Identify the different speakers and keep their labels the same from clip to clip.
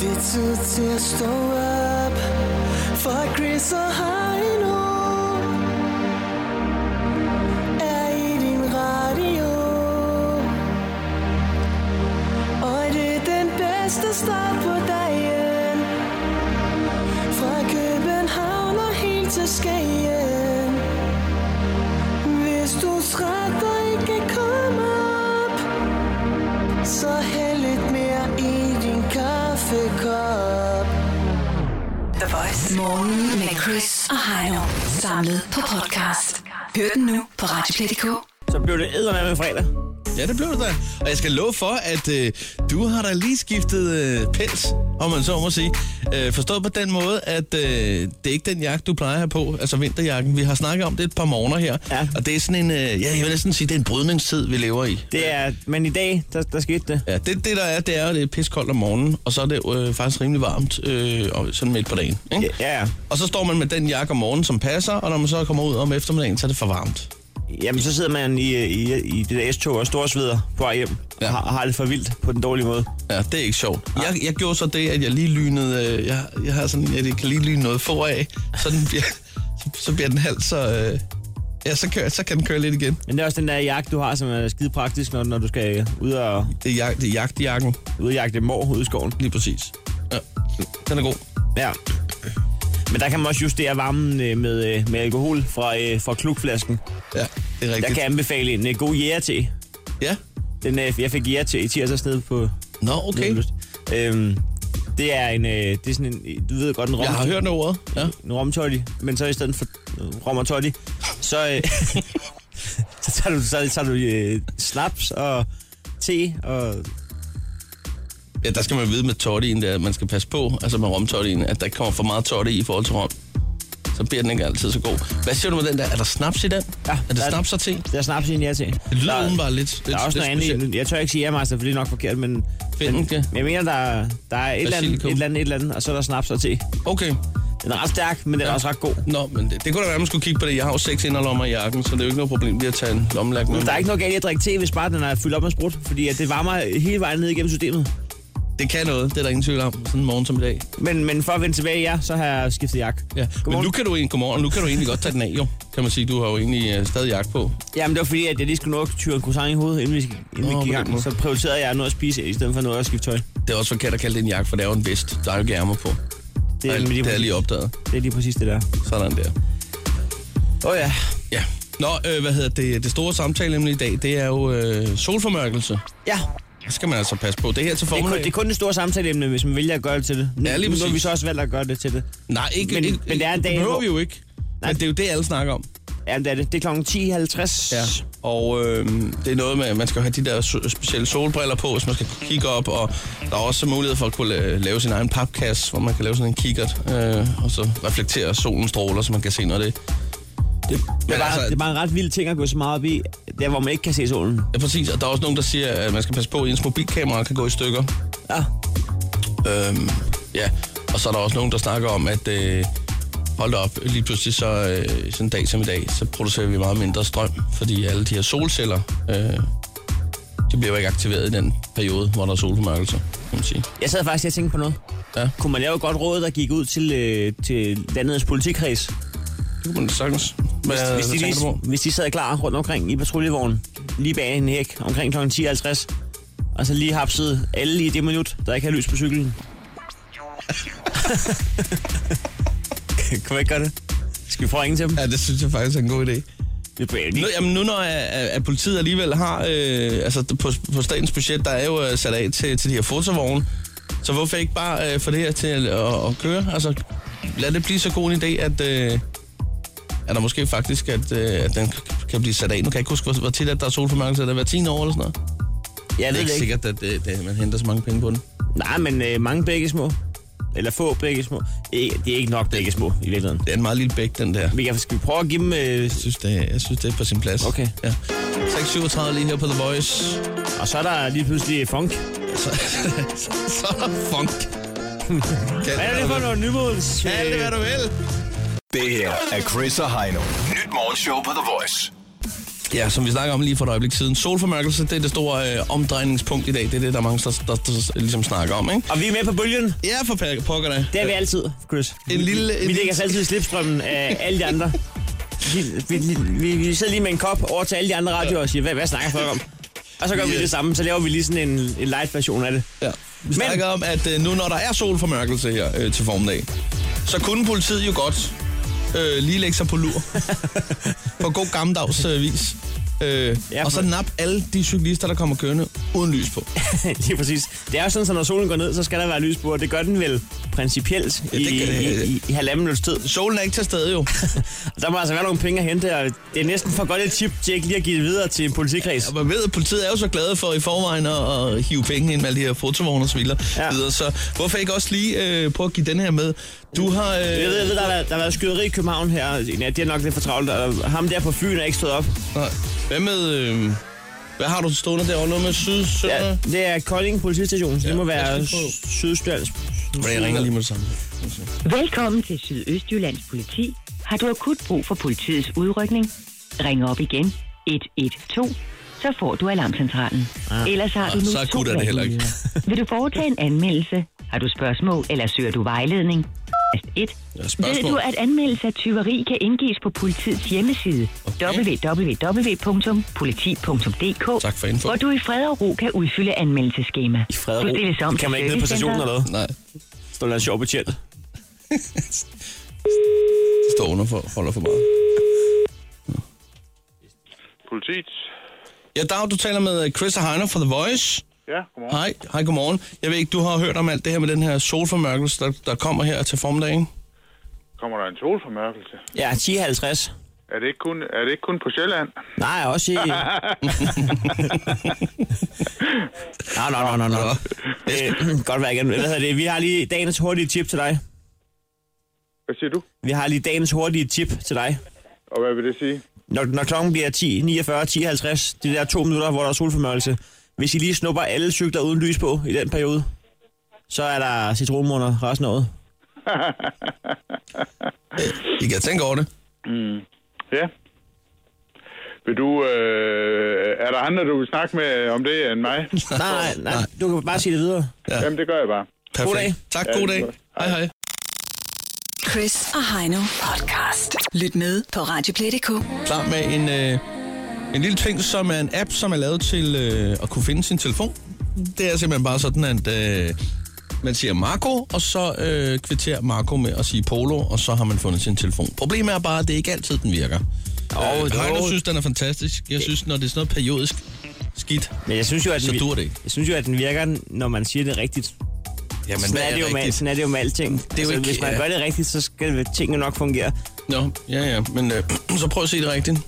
Speaker 1: altid til at stå op For Chris og Heino Er i din radio Og det er den bedste start på dagen Fra København og helt til Skagen Hvis du er træt og ikke kan komme op Så hæld lidt mere i din kaffekop
Speaker 2: The Voice. Morgen med Chris og Heino. Samlet på podcast. Hør den nu på Radioplay.dk.
Speaker 3: Så blev det eddermame med fredag.
Speaker 4: Ja, det blev det da. Og jeg skal love for, at øh, du har da lige skiftet øh, pels, om man så må sige. Øh, forstået på den måde, at øh, det er ikke den jakke, du plejer at have på, altså vinterjakken. Vi har snakket om det et par morgener her.
Speaker 3: Ja.
Speaker 4: Og det er sådan en, øh, ja, jeg vil næsten sige, det er en brydningstid, vi lever i.
Speaker 3: Det er, men i dag, der, der skete det.
Speaker 4: Ja, det, det der er, det er, at det er piskoldt om morgenen, og så er det øh, faktisk rimelig varmt, øh, og sådan midt på dagen. Ikke?
Speaker 3: Ja, ja.
Speaker 4: Og så står man med den jakke om morgenen, som passer, og når man så kommer ud om eftermiddagen, så er det for varmt.
Speaker 3: Jamen, så sidder man i, i, i det der S-tog og storsveder på vej hjem.
Speaker 4: Ja.
Speaker 3: Ja. Har, har det for vildt på den dårlige måde.
Speaker 4: Ja, det er ikke sjovt. Jeg, jeg gjorde så det, at jeg lige lynede, øh, jeg, jeg har sådan, jeg kan lige lyne noget foraf, så, den bliver, så, så bliver den halvt, så, øh, ja, så, kører, så kan den køre lidt igen.
Speaker 3: Men det er også den der jakke, du har, som er skide praktisk, når, når du skal ud og,
Speaker 4: Det er, jag, det er jagtjakken,
Speaker 3: ud og jagte mor ude i skoven.
Speaker 4: lige præcis. Ja, den er god.
Speaker 3: Ja. Men der kan man også justere varmen øh, med, øh, med alkohol fra, øh, fra klukflasken.
Speaker 4: Ja, det er
Speaker 3: Der
Speaker 4: rigtigt.
Speaker 3: kan jeg anbefale en øh, god jæger-te.
Speaker 4: Ja,
Speaker 3: Den, øh, jeg fik jæger-te i tirsdags nede på
Speaker 4: nå, okay.
Speaker 3: Nødlyst. Øhm, det er en, øh, det er sådan en, du ved godt, en rom,
Speaker 4: Jeg har hørt noget ordet. Ja.
Speaker 3: en romtolli, men så i stedet for øh, rom og tolli, så, øh, så tager du, så tager du øh, snaps og te og...
Speaker 4: ja, der skal man vide med tortien, der, at man skal passe på, altså med romtortien, at der ikke kommer for meget torte i i forhold til rom. Så bliver den ikke altid så god. Hvad siger du med den der? Er der snaps i den?
Speaker 3: Ja,
Speaker 4: er det
Speaker 3: der er-
Speaker 4: snaps og te? Det
Speaker 3: Der er snaps i en jæger-te.
Speaker 4: lyder
Speaker 3: der,
Speaker 4: udenbart lidt, lidt
Speaker 3: der er også
Speaker 4: lidt
Speaker 3: noget andet.
Speaker 4: specielt.
Speaker 3: i den. Jeg tør ikke sige jægermeister, for det er nok forkert, men...
Speaker 4: Find
Speaker 3: men-
Speaker 4: det.
Speaker 3: men Jeg mener, der, der er et eller, andet,
Speaker 4: Basilikum.
Speaker 3: et eller andet, et eller andet, og så er der snaps og te.
Speaker 4: Okay.
Speaker 3: Den er ret stærk, men den er også ret god.
Speaker 4: Nå, men det, det kunne da være, man skulle kigge på det. Jeg har jo seks inderlommer i jakken, så det er jo ikke noget problem lige at tage en lommelærk med.
Speaker 3: Der er ikke noget galt i at drikke te, hvis bare den er fyldt op med sprut, fordi at det varmer hele vejen ned igennem systemet.
Speaker 4: Det kan noget, det er der ingen tvivl om, sådan en morgen som i dag.
Speaker 3: Men, men for at vende tilbage, ja, så har jeg skiftet jakke.
Speaker 4: Ja. Men
Speaker 3: Godmorgen.
Speaker 4: nu kan, du, egentlig- godmorgen, nu kan du egentlig godt tage den af, jo. Kan man sige, du har jo egentlig øh, stadig jakke på.
Speaker 3: Jamen, det var fordi, at jeg lige skulle nå at tyre en croissant i hovedet, inden vi, inden
Speaker 4: Nå,
Speaker 3: vi gik i
Speaker 4: på den
Speaker 3: gang.
Speaker 4: måde.
Speaker 3: Så prioriterede jeg noget at spise, i stedet for noget at skifte tøj.
Speaker 4: Det er også forkert at kalde det en jakke, for det er jo en vest. Der er jo ikke ærmer på.
Speaker 3: Det
Speaker 4: Det
Speaker 3: er,
Speaker 4: er, det er jeg lige opdaget.
Speaker 3: det er lige præcis det der.
Speaker 4: Sådan der.
Speaker 3: Åh oh, ja.
Speaker 4: Ja. Nå, øh, hvad hedder det? Det store samtale nemlig i dag, det er jo øh, solformørkelse.
Speaker 3: Ja,
Speaker 4: Det skal man altså passe på. Det er her til
Speaker 3: det er, kun,
Speaker 4: formiddag.
Speaker 3: det er kun det store samtaleemne, hvis man vælger at gøre det til det. Nu,
Speaker 4: Ja, lige
Speaker 3: nu har
Speaker 4: præcis.
Speaker 3: vi så også valgt at gøre det til det.
Speaker 4: Nej, ikke,
Speaker 3: Men-
Speaker 4: ikke,
Speaker 3: men det er en dag,
Speaker 4: det behøver
Speaker 3: hvor-
Speaker 4: vi jo ikke.
Speaker 3: Nej.
Speaker 4: Men det er jo det, alle snakker om.
Speaker 3: Jamen, det er det. Det er klokken 10.50.
Speaker 4: Ja, og øh, det er noget med, at man skal have de der so- specielle solbriller på, hvis man skal kunne kigge op, og der er også mulighed for at kunne la- lave sin egen papkasse, hvor man kan lave sådan en kikkert, øh, og så reflektere solens stråler, så man kan se noget af det. det
Speaker 3: Det er,
Speaker 4: men
Speaker 3: bare,
Speaker 4: altså,
Speaker 3: det er bare en ret vild ting at gå så meget op i, der hvor man ikke kan se solen.
Speaker 4: Ja, præcis, og der er også nogen, der siger, at man skal passe på, at ens mobilkamera kan gå i stykker.
Speaker 3: Ja.
Speaker 4: Øhm, ja, og så er der også nogen, der snakker om, at øh, hold da op, lige pludselig så øh, sådan en dag som i dag, så producerer vi meget mindre strøm, fordi alle de her solceller, øh, de bliver jo ikke aktiveret i den periode, hvor der er solformørkelse, kan man sige.
Speaker 3: Jeg sad faktisk og tænkte på noget.
Speaker 4: Ja.
Speaker 3: Kunne man lave et godt råd, der gik ud til, øh, til landets politikreds?
Speaker 4: Det kunne man sagtens. Hvad,
Speaker 3: Hvis, hvis, de,
Speaker 4: hvad tænker du på?
Speaker 3: lige, hvis de sad klar rundt omkring i patruljevognen, lige bag en hæk, omkring kl. 10.50, og så lige hapsede alle i det minut, der ikke har lys på cyklen. kan vi ikke gøre det? Skal vi prøve at ringe til dem?
Speaker 4: Ja, det synes jeg faktisk er en god idé.
Speaker 3: Det bliver jo lige-
Speaker 4: Nu, jamen nu når at, at, at politiet alligevel har, øh, altså på, på statens budget, der er jo øh, sat af til, til de her fotovogne, så hvorfor ikke bare øh, få det her til at, at, at køre? Altså lad det blive så god en idé, at, øh, at der måske faktisk, at, øh, at den kan blive sat af. Nu kan jeg ikke huske, hvor, hvor tit at der er solformørkelse, er det hver 10 år eller sådan noget? Det
Speaker 3: jeg
Speaker 4: er
Speaker 3: ved
Speaker 4: ikke
Speaker 3: det ikke.
Speaker 4: sikkert, at det, det, man henter så mange penge på den.
Speaker 3: Nej, men øh, mange begge små. Eller få begge små. Det, er- det er ikke nok begge små, i virkeligheden.
Speaker 4: Det er en meget lille bæk, den der.
Speaker 3: Vi kan, skal vi prøve at give dem... Øh,
Speaker 4: Jeg synes, det, jeg synes, det er på sin plads.
Speaker 3: Okay.
Speaker 4: Ja. 6.37 lige her på The Voice.
Speaker 3: og så er der lige pludselig funk.
Speaker 4: Så, så er der funk. Kan
Speaker 3: Hvad er det for noget nymodens... Øh,
Speaker 4: Kald det, hvad du vil.
Speaker 5: Det her er Chris og Heino. Nyt morgenshow på The Voice.
Speaker 4: Ja, som vi snakker om lige for et øjeblik siden. Solformørkelse, det er det store øh, omdrejningspunkt i dag. Det er det, der er mange, der, der, der, ligesom snakker om, ikke?
Speaker 3: Og vi er med på bølgen.
Speaker 4: Ja, for pa- pokker da.
Speaker 3: Det er vi altid, Chris.
Speaker 4: En lille- en
Speaker 3: vi
Speaker 4: lille-
Speaker 3: lægger os altid i slipstrømmen af alle de andre. Vi, vi, vi, vi sidder lige med en kop over til alle de andre radioer og siger, hvad, hvad snakker folk om? Og så gør vi
Speaker 4: Ja.
Speaker 3: det samme, så laver vi lige sådan en, en light version af det.
Speaker 4: Ja. Vi snakker om, at øh, nu når der er solformørkelse her øh, til formiddag, så kunne politiet jo godt øh, lige lægge sig på lur. på god gammeldags øh, vis. Øh,
Speaker 3: Ja,
Speaker 4: og så
Speaker 3: for-
Speaker 4: nap alle de cyklister, der kommer kørende uden lys på.
Speaker 3: lige præcis. Det er jo sådan, at når solen går ned, så skal der være lys på, og det gør den vel principielt
Speaker 4: Ja,
Speaker 3: ja,
Speaker 4: det
Speaker 3: i,
Speaker 4: kan-
Speaker 3: i, i, i halvanden minuts tid.
Speaker 4: Solen er ikke til stede jo.
Speaker 3: Og der må altså være nogle penge at hente, og det er næsten for godt et tip til ikke lige at give det videre til en politikreds.
Speaker 4: Og man ved, at politiet er jo så glade for i forvejen at, at hive penge ind med alle de her fotovogne og så videre.
Speaker 3: Ja.
Speaker 4: Ja. Så hvorfor ikke også lige øh, prøve at give den her med? Du har... Øh,
Speaker 3: Jeg ved, jeg ved der, har været, der har været skyderi i København her. Ja, det er nok lidt for travlt, og ham der på Fyn er ikke stået op.
Speaker 4: nej. Hvad med... Øh, hvad har du stående derovre? Noget med syd, sønder?
Speaker 3: Ja,
Speaker 4: Ja.
Speaker 3: det er Kolding politistation, så det
Speaker 4: Ja,
Speaker 3: må
Speaker 4: lad
Speaker 3: være
Speaker 4: os lige prøve.
Speaker 3: sydstjørns.
Speaker 4: Jeg ringer lige med det samme.
Speaker 5: Velkommen til Sydøstjyllands politi. Har du akut brug for politiets udrykning? Ring op igen 112, så får du alarmcentralen. Ellers har du
Speaker 4: ah,
Speaker 5: nu
Speaker 4: så er
Speaker 5: to
Speaker 4: gutter det heller ikke.
Speaker 5: valgmuligheder. Vil du foretage en anmeldelse? Har du spørgsmål, eller søger du vejledning? Tast 1. Ved
Speaker 4: spørgsmål.
Speaker 5: du, at anmeldelse af tyveri kan indgives på politiets hjemmeside
Speaker 4: Okay.
Speaker 5: okay. www.politi.dk,
Speaker 4: Tak for info.
Speaker 5: hvor du i fred og ro kan udfylde anmeldelseskema.
Speaker 3: I fred og
Speaker 5: Du stilles om
Speaker 3: ro. Kan man
Speaker 5: til
Speaker 3: ikke ned på stationen
Speaker 5: servicecenteret.
Speaker 3: eller noget?
Speaker 4: Nej,
Speaker 3: Står der en sjov betjent?
Speaker 4: det står under for, holder for meget.
Speaker 6: Politiet.
Speaker 4: Ja, Dag, du taler med øh, Chris og Heiner fra The Voice.
Speaker 6: Ja, godmorgen.
Speaker 4: Hej, hej, godmorgen. Jeg ved ikke, du har hørt om alt det her med den her solformørkelse, der, der kommer her til formiddagen.
Speaker 6: Kommer der en solformørkelse?
Speaker 3: Ja, 10.50.
Speaker 6: Er det ikke kun, er det ikke kun på Sjælland?
Speaker 3: Nej, også i... Nå, nå, nå, nå, nå. Øh, Godt værk. Hvad hedder det? Vi har lige dagens hurtige tip til dig.
Speaker 6: Hvad siger du?
Speaker 3: Vi har lige dagens hurtige tip til dig.
Speaker 6: Og hvad vil det sige?
Speaker 3: Når, når klokken bliver 10, 49, 10, 50, de der to minutter, hvor der er solformørkelse, hvis I lige snupper alle cykler uden lys på i den periode, så er der citronmåner resten af året.
Speaker 4: I kan tænke over det.
Speaker 6: Mm. Ja. Vil du, øh, er der andre, du vil snakke med om det end mig?
Speaker 3: Nej, nej, nej. Du kan bare sige det videre.
Speaker 6: Ja. Jamen, det gør jeg bare.
Speaker 4: Perfekt.
Speaker 3: God dag.
Speaker 4: Tak,
Speaker 6: Ja,
Speaker 4: god
Speaker 6: det er
Speaker 4: dag.
Speaker 6: godt.
Speaker 4: Hej, hej.
Speaker 2: Chris og Heino podcast. Lyt med på Radioplay.dk.
Speaker 4: Klar med en, øh, en lille ting, som er en app, som er lavet til øh, at kunne finde sin telefon. Det er simpelthen bare sådan, at øh, man siger Marco, og så øh, kvitterer Marco med at sige Polo, og så har man fundet sin telefon. Problemet er bare, at det ikke altid, den virker.
Speaker 3: Jo,
Speaker 4: øh,
Speaker 3: jo.
Speaker 4: Heino synes, den er fantastisk. Jeg synes, når det er sådan noget periodisk skidt,
Speaker 3: Men jeg synes jo, at
Speaker 4: så
Speaker 3: den,
Speaker 4: dur det ikke.
Speaker 3: jeg synes jo, at den virker, når man siger det rigtigt.
Speaker 4: Jamen,
Speaker 3: sådan, er det jo med, sådan er det jo med alting. Det er
Speaker 4: jo
Speaker 3: altså,
Speaker 4: ikke-
Speaker 3: hvis man
Speaker 4: ja.
Speaker 3: gør det rigtigt, så skal tingene nok fungere.
Speaker 4: Nå, ja, ja, men øh, så prøv at se det rigtigt.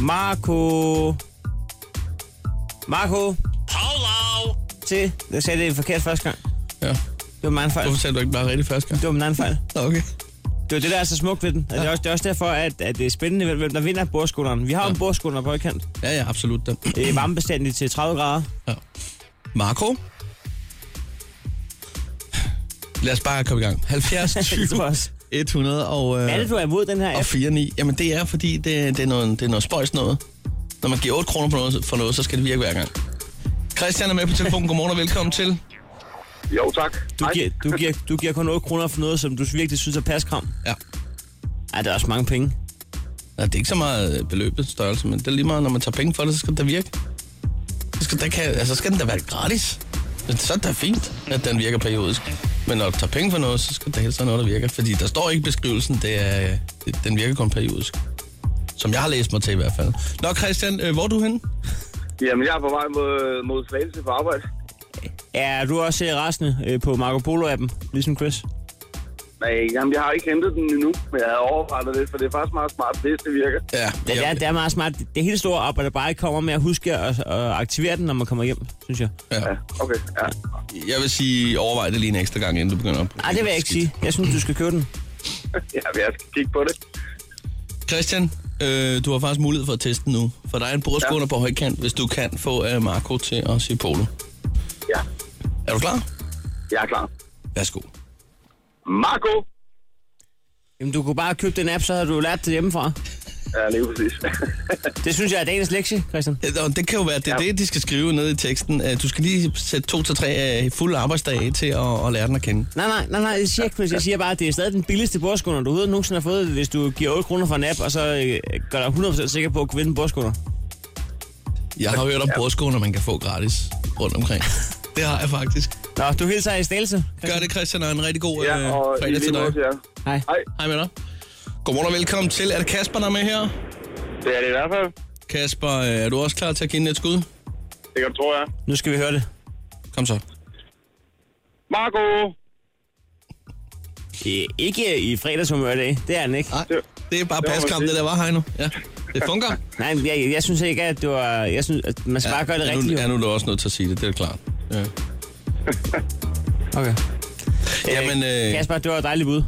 Speaker 3: Marco... Marco... Polo! Til... Jeg sagde det forkert første gang.
Speaker 4: Ja.
Speaker 3: Det var min egen fejl.
Speaker 4: Hvorfor sagde du ikke bare rigtigt første gang?
Speaker 3: Det var min egen fejl.
Speaker 4: Nå, Okay.
Speaker 3: Det er det, der er så smukt ved den. Og det, er også, det er også derfor, at, at det er spændende, hvem- hvem der vinder bordskulderen. Vi har jo en bordskulder på højkant.
Speaker 4: Ja, ja, absolut. Den.
Speaker 3: Det er varmebestandigt til 30 grader.
Speaker 4: Ja. Marco? Lad os bare komme i gang. 70,
Speaker 3: Det
Speaker 4: 20,
Speaker 3: tror jeg også.
Speaker 4: 100 og,
Speaker 3: Hvad er det,
Speaker 4: øh,
Speaker 3: du er imod den her
Speaker 4: og
Speaker 3: app?
Speaker 4: 4, 9. Jamen det er, fordi det, det, er noget, det er noget spøjs noget. Når man giver 8 kroner på noget, for noget, så skal det virke hver gang. Christian er med på telefonen. Godmorgen og velkommen til.
Speaker 7: Jo, tak.
Speaker 3: Du giver, du, giver, du giver kun 8 kroner for noget, som du virkelig synes er paskram.
Speaker 4: Ja.
Speaker 3: Ej, det er også mange penge.
Speaker 4: Nej, det er ikke så meget øh, beløbet størrelse, men det er lige meget, når man tager penge for det, så skal det da virke. Så skal, der kan, altså, så skal den da være gratis. Men Så er det da fint, at den virker periodisk. Men når du tager penge for noget, så skal der helst være noget, der virker. Fordi der står ikke i beskrivelsen, det er, øh, det- den virker kun periodisk. Som jeg har læst mig til i hvert fald. Nå Christian, øh, hvor er du henne?
Speaker 7: Jamen, jeg er på vej mod, mod Slagelse på arbejde.
Speaker 3: Er du også øh, rasende øh, på Marco Polo-appen, ligesom Chris?
Speaker 7: Nej, jamen, jeg har ikke hentet den endnu, men jeg havde overvejet det, for det er faktisk meget smart, hvis det virker.
Speaker 4: Ja,
Speaker 3: Det, det, er, det er meget smart. Det er helt store op, at der bare ikke kommer med at huske at, at aktivere den, når man kommer hjem, synes jeg.
Speaker 7: Ja, okay, ja.
Speaker 4: jeg vil sige, overvej det lige en ekstra gang, inden du begynder at bruge
Speaker 3: Nej, det vil jeg ikke
Speaker 4: Skidt.
Speaker 3: sige. Jeg synes, du skal købe den.
Speaker 7: ja men jeg skal kigge på det.
Speaker 4: Christian, øh, du har faktisk mulighed for at teste den nu. For der er en bordskunder ja.
Speaker 7: Ja.
Speaker 4: på højkant, hvis du kan få øh, Marco til at sige polo.
Speaker 7: Ja,
Speaker 4: Er du klar?
Speaker 7: jeg er klar.
Speaker 4: Værsgo.
Speaker 7: Marco!
Speaker 3: Jamen, du kunne bare købe den app, så havde du lært det hjemmefra.
Speaker 7: Ja, lige præcis.
Speaker 3: Det synes jeg er dagens lektie, Christian.
Speaker 4: Øh, og Det kan jo være, det er
Speaker 7: Ja.
Speaker 4: det, de skal skrive ned i teksten. Øh, Du skal lige sætte to til tre øh, fulde arbejdsdage til at, at lære den at kende.
Speaker 3: Nej, nej, nej, nej, jeg siger, ikke, jeg siger bare, at det er stadig den billigste bordskunder, du overhovedet nogensinde har fået, hvis du giver 8 kroner for en app, og så øh, gør dig 100% sikker på at kunne vinde en bordskunder.
Speaker 4: Jeg har hørt om bordskoene, man kan få gratis rundt omkring. Det har jeg faktisk.
Speaker 3: Nå, du hilser i Stælse.
Speaker 4: Gør det, Christian, og en rigtig god
Speaker 7: ja,
Speaker 4: øh,
Speaker 7: og i
Speaker 4: fredag
Speaker 7: lige
Speaker 4: til dig.
Speaker 7: måde til jer.
Speaker 3: Hej.
Speaker 4: Hej med dig. Godmorgen og velkommen til. Er det Kasper, der er med her?
Speaker 7: Det er det i hvert fald.
Speaker 4: Kasper, øh, er du også klar til at give den et skud?
Speaker 7: Det kan du tro, jeg.
Speaker 3: Nu skal vi høre det.
Speaker 4: Kom så. Ah,
Speaker 7: Marco!
Speaker 3: I, ikke i fredagshumør i dag, det er den ikke.
Speaker 4: Nej, det er bare
Speaker 7: må man
Speaker 4: paskamp,
Speaker 7: sige.
Speaker 4: det der var, Heino. Ja, det fungerer.
Speaker 3: Nej, men jeg, jeg synes ikke, at det var... Jeg synes, at man skal bare gøre det
Speaker 4: er
Speaker 3: rigtigt.
Speaker 4: Nu,
Speaker 3: jo.
Speaker 4: er nu er du også nødt til at sige det, det er klart. Ja.
Speaker 3: Okay.
Speaker 4: Jamen, øh,
Speaker 3: Kasper, det var et dejligt bud.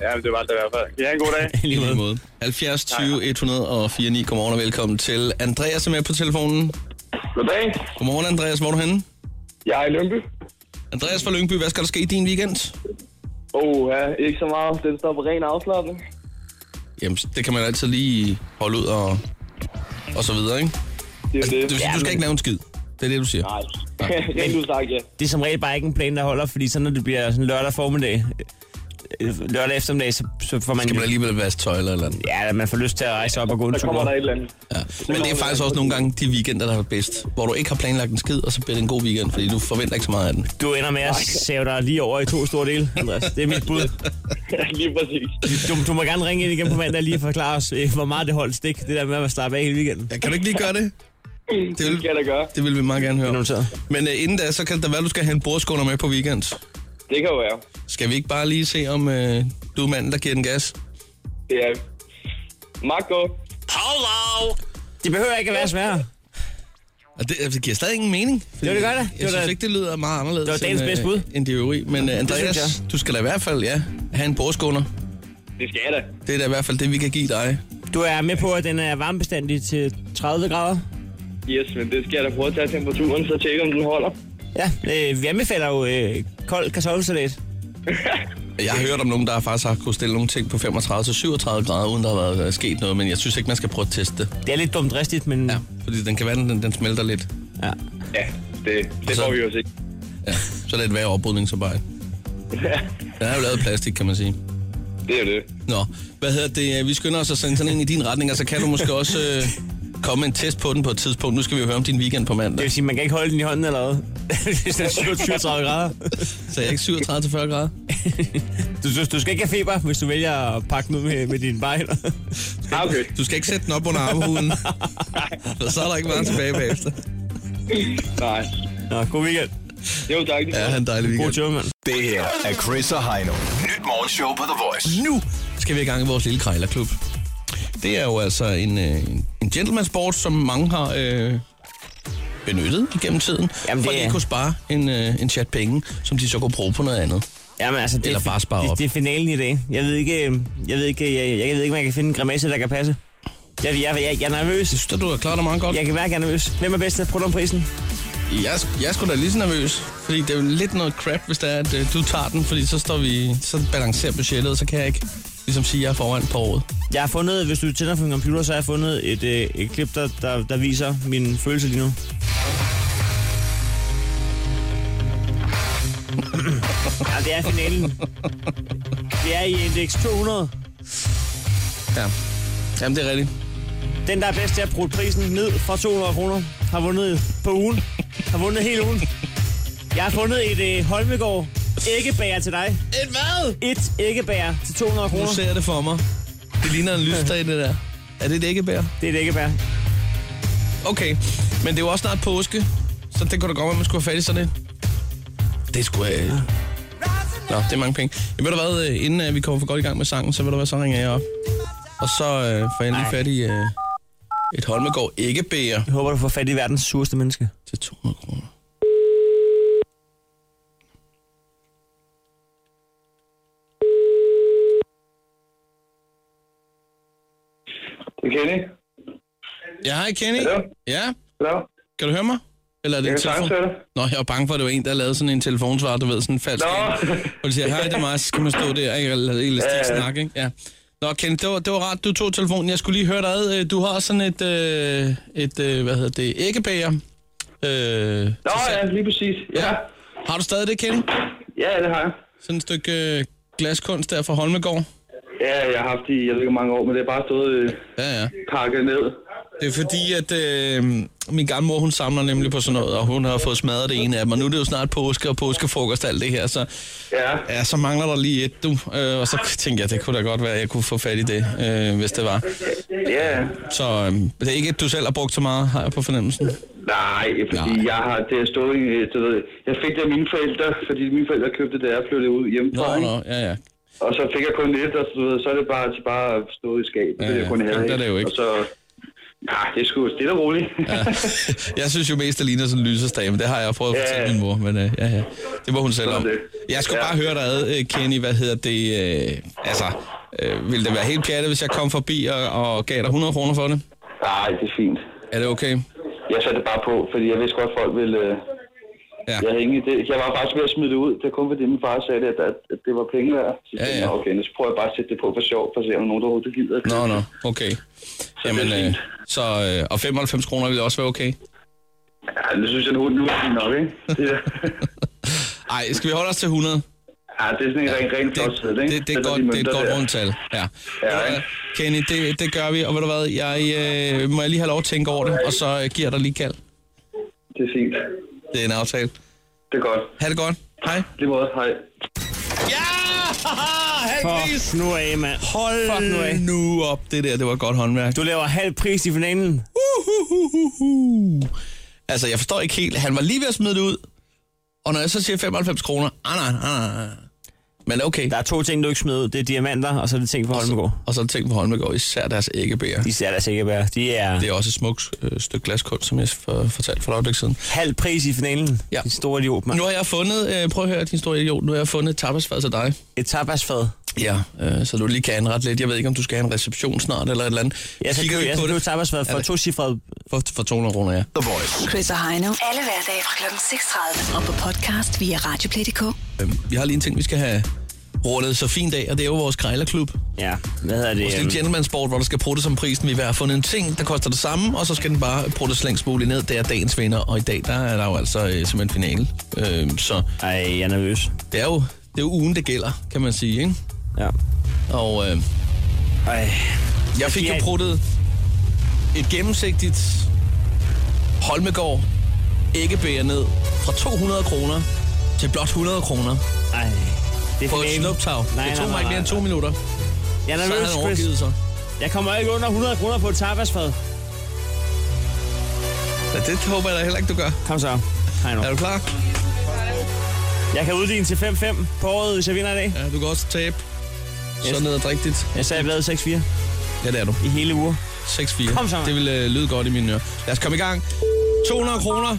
Speaker 7: Ja, det var det i hvert fald. Ja, en god dag.
Speaker 4: i lige måde. 70 20 104 9. Godmorgen og velkommen til Andreas er med på telefonen.
Speaker 7: Goddag.
Speaker 4: Godmorgen, Andreas. Hvor er du henne?
Speaker 7: Jeg er i Lønby.
Speaker 4: Andreas fra Lyngby, hvad skal der ske i din weekend?
Speaker 7: Åh, ja, ikke så meget. Den står på ren afslappning.
Speaker 4: Jamen, det kan man altid lige holde ud og, og så videre, ikke? Altså,
Speaker 7: Det er
Speaker 4: Det vil sige, du skal ikke lave en skid. Det er det, du siger.
Speaker 7: Nej. Rent udsagt, ja.
Speaker 3: Det er som regel bare ikke en plan, der holder, fordi så når det bliver sådan lørdag formiddag, øh, lørdag eftermiddag, så, så får man...
Speaker 4: Skal man alligevel vaske tøjler eller andet?
Speaker 3: Ja, man får lyst til at rejse op og gå en
Speaker 7: Så kommer der
Speaker 3: tur.
Speaker 7: et eller andet.
Speaker 4: Ja. Men det er faktisk også nogle gange de weekender, der er bedst. Hvor du ikke har planlagt en skid, og så bliver det en god weekend, fordi du forventer ikke så meget af den.
Speaker 3: Du ender med at save dig lige over i to store dele, Andreas. Det er mit bud.
Speaker 7: Lige præcis.
Speaker 3: Du, du må gerne ringe ind igen på mandag lige og forklare os, øh, hvor meget det holdt stik, det der med at slappe af hele weekenden.
Speaker 4: Ja, kan du ikke lige gøre det? Det
Speaker 7: Det
Speaker 4: vil,
Speaker 7: skal jeg da gøre.
Speaker 4: det vil vi meget gerne
Speaker 3: Det er
Speaker 4: høre.
Speaker 3: noteret.
Speaker 4: Men uh, inden da, så kan det være, at du skal have en bordskåner med på weekend.
Speaker 7: Det kan jo være.
Speaker 4: Skal vi ikke bare lige se, om uh, du er manden, der giver den gas?
Speaker 7: Det er Marco.
Speaker 3: Det behøver ikke at være sværere.
Speaker 4: Og det, altså, det giver stadig ingen mening. Fordi
Speaker 3: Jo, det gør det. Det
Speaker 4: Jeg
Speaker 3: var
Speaker 4: synes
Speaker 3: da-
Speaker 4: ikke, det lyder meget anderledes
Speaker 3: det var dagens
Speaker 4: end,
Speaker 3: bedste
Speaker 4: øh,
Speaker 3: bud.
Speaker 4: end det øvrige. Men uh, Andreas,
Speaker 3: synes
Speaker 4: du skal da i hvert fald ja, have en bordskåner.
Speaker 7: Det skal jeg da.
Speaker 4: Det er da i hvert fald det, vi kan give dig.
Speaker 3: Du er med på, at den er varmebestandig til 30 grader.
Speaker 7: Yes, men det skal jeg da prøve at tage temperaturen, så tjekke, om den holder.
Speaker 3: Ja, øh, vi anbefaler jo øh, kold kartoffelsalat.
Speaker 4: Jeg har hørt om nogen, der faktisk har kunnet stille nogle ting på 35-37 grader, uden der har været øh, sket noget, men jeg synes ikke, man skal prøve at teste det.
Speaker 3: Det er lidt dumt dristigt, men...
Speaker 4: Ja, fordi den kan være, den, den smelter lidt.
Speaker 3: ja.
Speaker 7: Ja, det, det
Speaker 4: Så-
Speaker 7: får vi jo se.
Speaker 4: Ja, så er det et værre oprydningsarbejde. Den er jo lavet af plastik, kan man sige.
Speaker 7: Det er det.
Speaker 4: Nå, hvad hedder det? Vi skynder os at sende sådan en i din retning, og så kan du måske også øh, komme med en test på den på et tidspunkt. Nu skal vi jo høre om din weekend på
Speaker 3: Det
Speaker 4: mandag.
Speaker 3: vil sige, man kan ikke holde den i hånden eller hvad? Hvis den er 37 grader.
Speaker 4: Så jeg er ikke 37-40 grader.
Speaker 3: Du, du, du, skal ikke have feber, hvis du vælger at pakke den ud med, med dine bejler.
Speaker 7: Ah, Okay,
Speaker 4: Du skal ikke sætte den op under armhuden. For så er der ikke meget tilbage bagefter.
Speaker 7: nej.
Speaker 3: Nå, god weekend.
Speaker 7: Jo, tak.
Speaker 4: Ja, han dejlig
Speaker 3: God
Speaker 4: weekend.
Speaker 3: tur, mand.
Speaker 8: Det her er Chris og Heino. Nyt morgenshow på The Voice.
Speaker 4: Nu skal vi i gang i vores lille krejlerklub. Det er jo altså en, øh, en- en gentleman sport, som mange har øh, benyttet igennem tiden.
Speaker 3: Jamen,
Speaker 4: for
Speaker 3: det
Speaker 4: at de
Speaker 3: er-
Speaker 4: kunne spare en, øh, en chat penge, som de så kunne bruge på noget andet.
Speaker 3: Jamen, altså, det,
Speaker 4: Eller
Speaker 3: er-
Speaker 4: bare spare op.
Speaker 3: det, det, er finalen i dag. Jeg ved ikke, øh, jeg ved ikke, jeg, jeg, jeg ved ikke, om jeg kan finde en grimasse, der kan passe. Jeg, jeg, jeg, jeg er nervøs.
Speaker 4: Så du har klaret dig meget godt.
Speaker 3: Jeg kan mærke, jeg er nervøs. Hvem er bedst til at prøve om prisen?
Speaker 4: Jeg, er sk- jeg er sgu da lige så nervøs, fordi det er jo lidt noget crap, hvis det er, at øh, du tager den, fordi så står vi, så balancerer budgettet, og så kan jeg ikke ligesom sige, at jeg er foran på året.
Speaker 3: Jeg har fundet, hvis du tænder for min computer, så har jeg fundet et, øh, et klip, der, der, der viser min følelse lige nu. ja, det er finalen. Det er i indeks 200.
Speaker 4: Ja. Jamen, det er rigtigt.
Speaker 3: Den, der er bedst til at bruge prisen ned fra 200 kroner, har vundet på ugen. Har vundet hele ugen. Jeg har fundet et øh, Holmegård æggebager til dig.
Speaker 4: Et hvad?
Speaker 3: Et æggebager til 200
Speaker 4: Nu
Speaker 3: kroner.
Speaker 4: ser jeg det for mig. Det ligner en lysdag, det der. Er det et æggebær?
Speaker 3: Det er et æggebær.
Speaker 4: Okay, men det er jo også snart påske, så det kunne da godt være, at man skulle have fat i sådan et. Det skulle øh... Nå, det er mange penge. Jeg ved du hvad, øh, inden øh, vi kommer for godt i gang med sangen, så vil du hvad, så ringer jeg op. Og så øh, får jeg lige fat i øh, et Holmegård æggebæger
Speaker 3: Jeg håber, du får fat i verdens sureste menneske.
Speaker 4: til 200 kroner.
Speaker 7: Det er Kenny.
Speaker 4: Ja, hej Kenny.
Speaker 7: Hallo?
Speaker 4: Ja,
Speaker 7: Hallo?
Speaker 4: kan du høre mig? Eller er det
Speaker 7: Jeg
Speaker 4: en
Speaker 7: kan
Speaker 4: telefon?
Speaker 7: sagtens høre dig.
Speaker 4: Nå, jeg var bange for, at det var en, der lavede sådan en telefonsvar, du ved, sådan en falsk.
Speaker 7: Nå.
Speaker 4: en. Hvor de siger, hej, det er mig, så skal man stå der, ikke? Eller elastik
Speaker 7: Ja, ja.
Speaker 4: snak, ikke? Ja. Nå, Kenneth, det var, det var rart, du tog telefonen. Jeg skulle lige høre dig ad. Øh, Du har sådan et, øh, et øh, hvad hedder det, æggebæger. Øh,
Speaker 9: Nå ja, lige præcis. Ja,
Speaker 4: Har du stadig det, Kenneth?
Speaker 9: ja det har jeg.
Speaker 4: Sådan et stykke øh, glaskunst der fra Holmegård?
Speaker 9: Ja, jeg har haft det i, jeg ved ikke, hvor mange år, men det er bare stået øh,
Speaker 4: Ja, ja.
Speaker 9: pakket ned.
Speaker 4: Det er fordi, at øh, min gamle mor, hun samler nemlig på sådan noget, og hun har fået smadret det ene af dem, og nu er det jo snart påske og påskefrokost og alt det her, så,
Speaker 9: Ja,
Speaker 4: ja, så mangler der lige et, du. Øh, og så tænkte jeg, det kunne da godt være, at jeg kunne få fat i det, øh, hvis det var.
Speaker 9: ja.
Speaker 4: Så øh, det er ikke et, du selv har brugt så meget, har jeg på fornemmelsen.
Speaker 9: Nej, fordi
Speaker 4: Nej.
Speaker 9: Nej. jeg har, det har stået i, øh, du ved, jeg fik det af mine forældre, fordi mine forældre købte det, da jeg flyttede ud
Speaker 4: Nå,
Speaker 9: hjemmefra.
Speaker 4: nå, ja, ja.
Speaker 9: Og så fik jeg kun et, og så, du ved, så er det bare, så bare stået i skabet.
Speaker 4: Ja,
Speaker 9: det er
Speaker 4: ja.
Speaker 9: jeg kun
Speaker 4: Jamen,
Speaker 9: have,
Speaker 4: det er det jo ikke.
Speaker 9: Og så, nej, det er sgu stille og roligt. Ja.
Speaker 4: Jeg synes jo mest, det ligner sådan en lysestage, men det har jeg prøvet at
Speaker 9: Ja,
Speaker 4: fortælle
Speaker 9: ja.
Speaker 4: min mor, men øh, ja, ja, det var hun selv om.
Speaker 9: Sådan er det.
Speaker 4: Jeg skal
Speaker 9: Ja.
Speaker 4: bare høre dig ad, øh, Kenny, hvad hedder det, øh, altså, øh, ville det være helt pjattet, hvis jeg kom forbi og, og gav dig 100 kroner for det?
Speaker 9: Nej, det er fint.
Speaker 4: Er det okay?
Speaker 9: Jeg satte det bare på, fordi jeg vidste godt, at folk ville... Øh,
Speaker 4: Ja.
Speaker 9: ja. jeg, havde ingen, det, jeg var faktisk ved at smide det ud. Det var kun fordi min far sagde, det, at, at det var penge værd. Så
Speaker 4: Ja,
Speaker 9: ja,
Speaker 4: ja.
Speaker 9: ja. okay, nu så prøver jeg bare at sætte det på for sjov, for at se, om nogen der overhovedet gider. at
Speaker 4: Nå,
Speaker 9: købe
Speaker 4: nå,
Speaker 9: det.
Speaker 4: okay. Jamen, øh, så, øh, og 95 kroner ville også være okay.
Speaker 9: Ja, det synes jeg nu, nu er det nok, ikke? Det,
Speaker 4: Ej, skal vi holde os til 100?
Speaker 9: ja, det er sådan en ren, ren
Speaker 4: Det,
Speaker 9: flothed, ikke?
Speaker 4: det, det, er
Speaker 9: Sætter
Speaker 4: godt,
Speaker 9: de
Speaker 4: det er et
Speaker 9: mønter
Speaker 4: godt
Speaker 9: der.
Speaker 4: rundt tal. Ja.
Speaker 9: Ja,
Speaker 4: Ved du hvad,
Speaker 9: ikke?
Speaker 4: Kenny, det, det gør vi, og ved du hvad, jeg, øh, må jeg lige have lov at tænke over det, og så øh, giver jeg dig lige kald.
Speaker 9: Det er fint.
Speaker 4: Det er en aftale.
Speaker 9: Det er godt.
Speaker 4: Ha' det godt. Hej.
Speaker 9: Lige måde, hej.
Speaker 4: Ja! Halvpris!
Speaker 3: Fuck nu af, mand. Fuck nu af.
Speaker 4: Hold nu op, det der, det var et godt håndværk.
Speaker 3: Du laver halv pris i finalen.
Speaker 4: Uhuhuhuhu. Altså, jeg forstår ikke helt. Han var lige ved at smide det ud, og når jeg så siger 95 kroner, ah, nej, nej, nej, nej. Men okay.
Speaker 3: Der er to ting, du ikke smed ud. Det er diamanter, og så er det ting fra Holmegård.
Speaker 4: Og så tænk på Holmegård, især deres æggebæger.
Speaker 3: De ser da sikkert være. De er
Speaker 4: Det er også et smukt øh, stykke glaskunst, som jeg for, fortalte for et øjeblik siden.
Speaker 3: halv pris i finalen.
Speaker 4: Ja.
Speaker 3: Ja. Din store idiot, mand.
Speaker 4: Nu har jeg fundet, øh, prøv at høre din store idiot, nu har jeg fundet et tapasfad til dig.
Speaker 3: Et tapasfad.
Speaker 4: Ja, øh, så du lige kan anrette lidt. Jeg ved ikke, om du skal have en reception snart eller et eller andet.
Speaker 3: Jeg skal
Speaker 4: Kigger
Speaker 3: købe,
Speaker 4: vi
Speaker 3: jeg
Speaker 4: på
Speaker 3: skal købe
Speaker 4: det?
Speaker 3: tapasfad
Speaker 4: Er
Speaker 3: for
Speaker 4: det-
Speaker 3: to cifrede.
Speaker 4: For, for 200 kroner, ja.
Speaker 10: The Voice.
Speaker 2: Chris og Heino. Alle hverdage fra kl. 6.30. Og på podcast via Radioplay.dk.
Speaker 4: Vi har lige en ting, vi skal have rundet så fint af, og det er jo vores krejlerklub. Vores
Speaker 3: Ja, hvad hedder det?
Speaker 4: lille gentleman sport, hvor der skal prutte som prisen. Vi hver har fundet en ting, der koster det samme, og så skal den bare pruttes længst muligt ned. Det er dagens vinder, og i dag der er der jo altså øh, simpelthen finale. Øh, så
Speaker 3: øhm, Ej, jeg er nervøs.
Speaker 4: det er, jo, det er jo ugen, det gælder, kan man sige. Ikke?
Speaker 3: Ja.
Speaker 4: Og øh,
Speaker 3: Ej. Altså,
Speaker 4: jeg fik jo
Speaker 3: Ja.
Speaker 4: pruttet et gennemsigtigt Holmegård æggebæger ned fra 200 kroner til blot 100 kroner
Speaker 3: Ej. Det er
Speaker 4: på et
Speaker 3: finalen.
Speaker 4: snuptag.
Speaker 3: Nej,
Speaker 4: Det
Speaker 3: nej,
Speaker 4: tog mig
Speaker 3: nej,
Speaker 4: ikke mere end to
Speaker 3: nej.
Speaker 4: minutter.
Speaker 3: Jeg er
Speaker 4: Så havde
Speaker 3: nervøs,
Speaker 4: han
Speaker 3: Chris.
Speaker 4: overgivet sig.
Speaker 3: Jeg kommer ikke under 100 kroner på et tapasfad.
Speaker 4: Ja, det håber jeg da heller ikke, du gør.
Speaker 3: Kom så. Hej nu.
Speaker 4: Er du klar?
Speaker 3: Jeg kan udligne til 5-5 på året, hvis jeg vinder i dag.
Speaker 4: Ja, du kan også tabe.
Speaker 3: Yes.
Speaker 4: Sådan noget rigtigt.
Speaker 3: Jeg sagde, jeg blev 6-4
Speaker 4: Ja, det er du.
Speaker 3: i hele uger.
Speaker 4: 6-4.
Speaker 3: Kom så, mand.
Speaker 4: Det vil øh, lyde godt i mine ører. Lad os komme i gang. 200 kroner.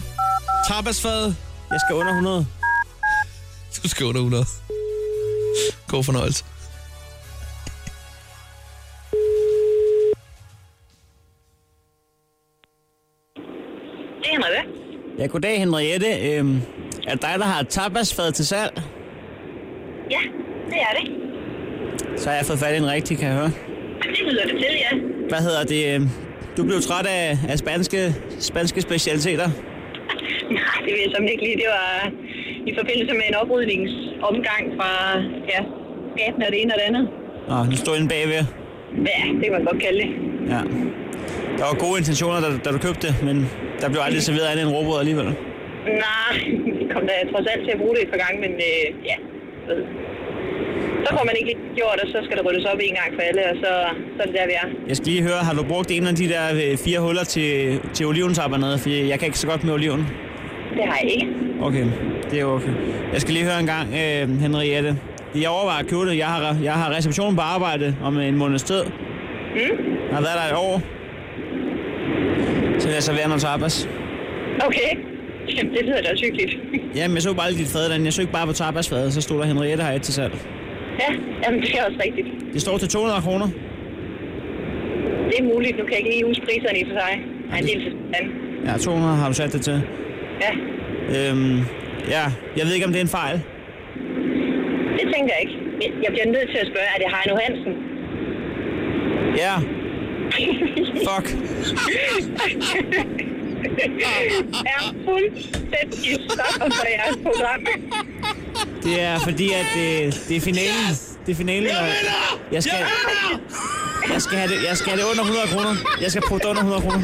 Speaker 4: Tapasfad.
Speaker 3: Jeg skal under 100.
Speaker 4: Du skal under 100. God fornøjelse.
Speaker 11: Det er Henrik.
Speaker 3: Ja, goddag Henriette. Øhm, er det dig, der har et tapasfad til salg?
Speaker 11: Ja, det er det.
Speaker 3: Så har jeg fået fat i en rigtig, kan jeg høre.
Speaker 11: Det lyder det til, ja.
Speaker 3: Hvad hedder det? øhm, Du blev træt af, af spanske, spanske specialiteter.
Speaker 11: Nej, det vil jeg som ikke lige. Det var i forbindelse med en oprydningsomgang fra ja, gaten og det ene og det andet.
Speaker 3: Nå, nu står jeg inde bagved.
Speaker 11: Ja, det kan man godt kalde det.
Speaker 3: Ja. Der var gode intentioner, da, da du købte det, men der blev aldrig serveret andet end råbrød alligevel.
Speaker 11: Nej, vi kom da trods alt til at bruge det et par gange, men øh, ja, ved. Så får man ikke lige gjort, og så skal der ryddes op en gang for alle, og så, så er det der, vi er.
Speaker 3: Jeg skal lige høre, har du brugt en af de der øh, fire huller til, til oliventappernede? For jeg kan ikke så godt med oliven.
Speaker 11: Det har jeg ikke.
Speaker 3: Okay, det er okay. Jeg skal lige høre en gang, øh, Henriette. Jeg overvejer at købe det. Jeg har, jeg har reception på arbejde om en måneds tid. Mm.
Speaker 11: Hm?
Speaker 3: Jeg har været der et år. Så vil jeg servere noget tapas.
Speaker 11: Okay. Jamen, det lyder da også hyggeligt.
Speaker 3: Jamen, jeg så bare lige dit fad derinde. Jeg søgte bare på tapasfadet, så stod der Henriette her til salg.
Speaker 11: ja, jamen, det er også rigtigt.
Speaker 3: Det står til 200 kroner.
Speaker 11: Det er muligt. Nu kan jeg ikke lige huske priserne i for sig. Nej, en lille forstand.
Speaker 3: Ja, 200 har du sat det til.
Speaker 11: Ja,
Speaker 3: Øhm, ja, jeg ved ikke, om det er en fejl.
Speaker 11: det tænker jeg ikke. Jeg- Jeg bliver nødt til at spørge, er det Heino Hansen?
Speaker 3: Ja. Fuck.
Speaker 11: er fuldstændig stoppet for jeres program.
Speaker 3: Det er fordi, at det, det er finalen. Yes! Det er finalen. og Jeg skal, jeg skal, have det, jeg skal have det under 100 kroner. Jeg skal prøve det under 100 kroner.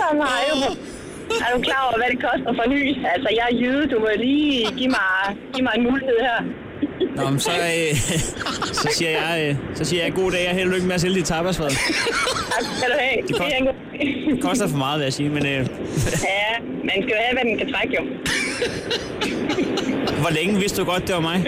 Speaker 11: Som har jo... Er du klar over, hvad det koster for lys? Altså, jeg er jyde. Du må lige give mig, give mig en mulighed her.
Speaker 3: Nå, men så, øh, så siger jeg, øh, så siger jeg god dag og held og lykke med at sælge dit tapasfad.
Speaker 11: Tak skal du have. Det,
Speaker 3: Det
Speaker 11: er en god...
Speaker 3: Det koster for meget, vil jeg sige, men øh,
Speaker 11: Ja, man skal jo have, hvad den kan trække, jo.
Speaker 3: hvor længe vidste du godt, det var mig?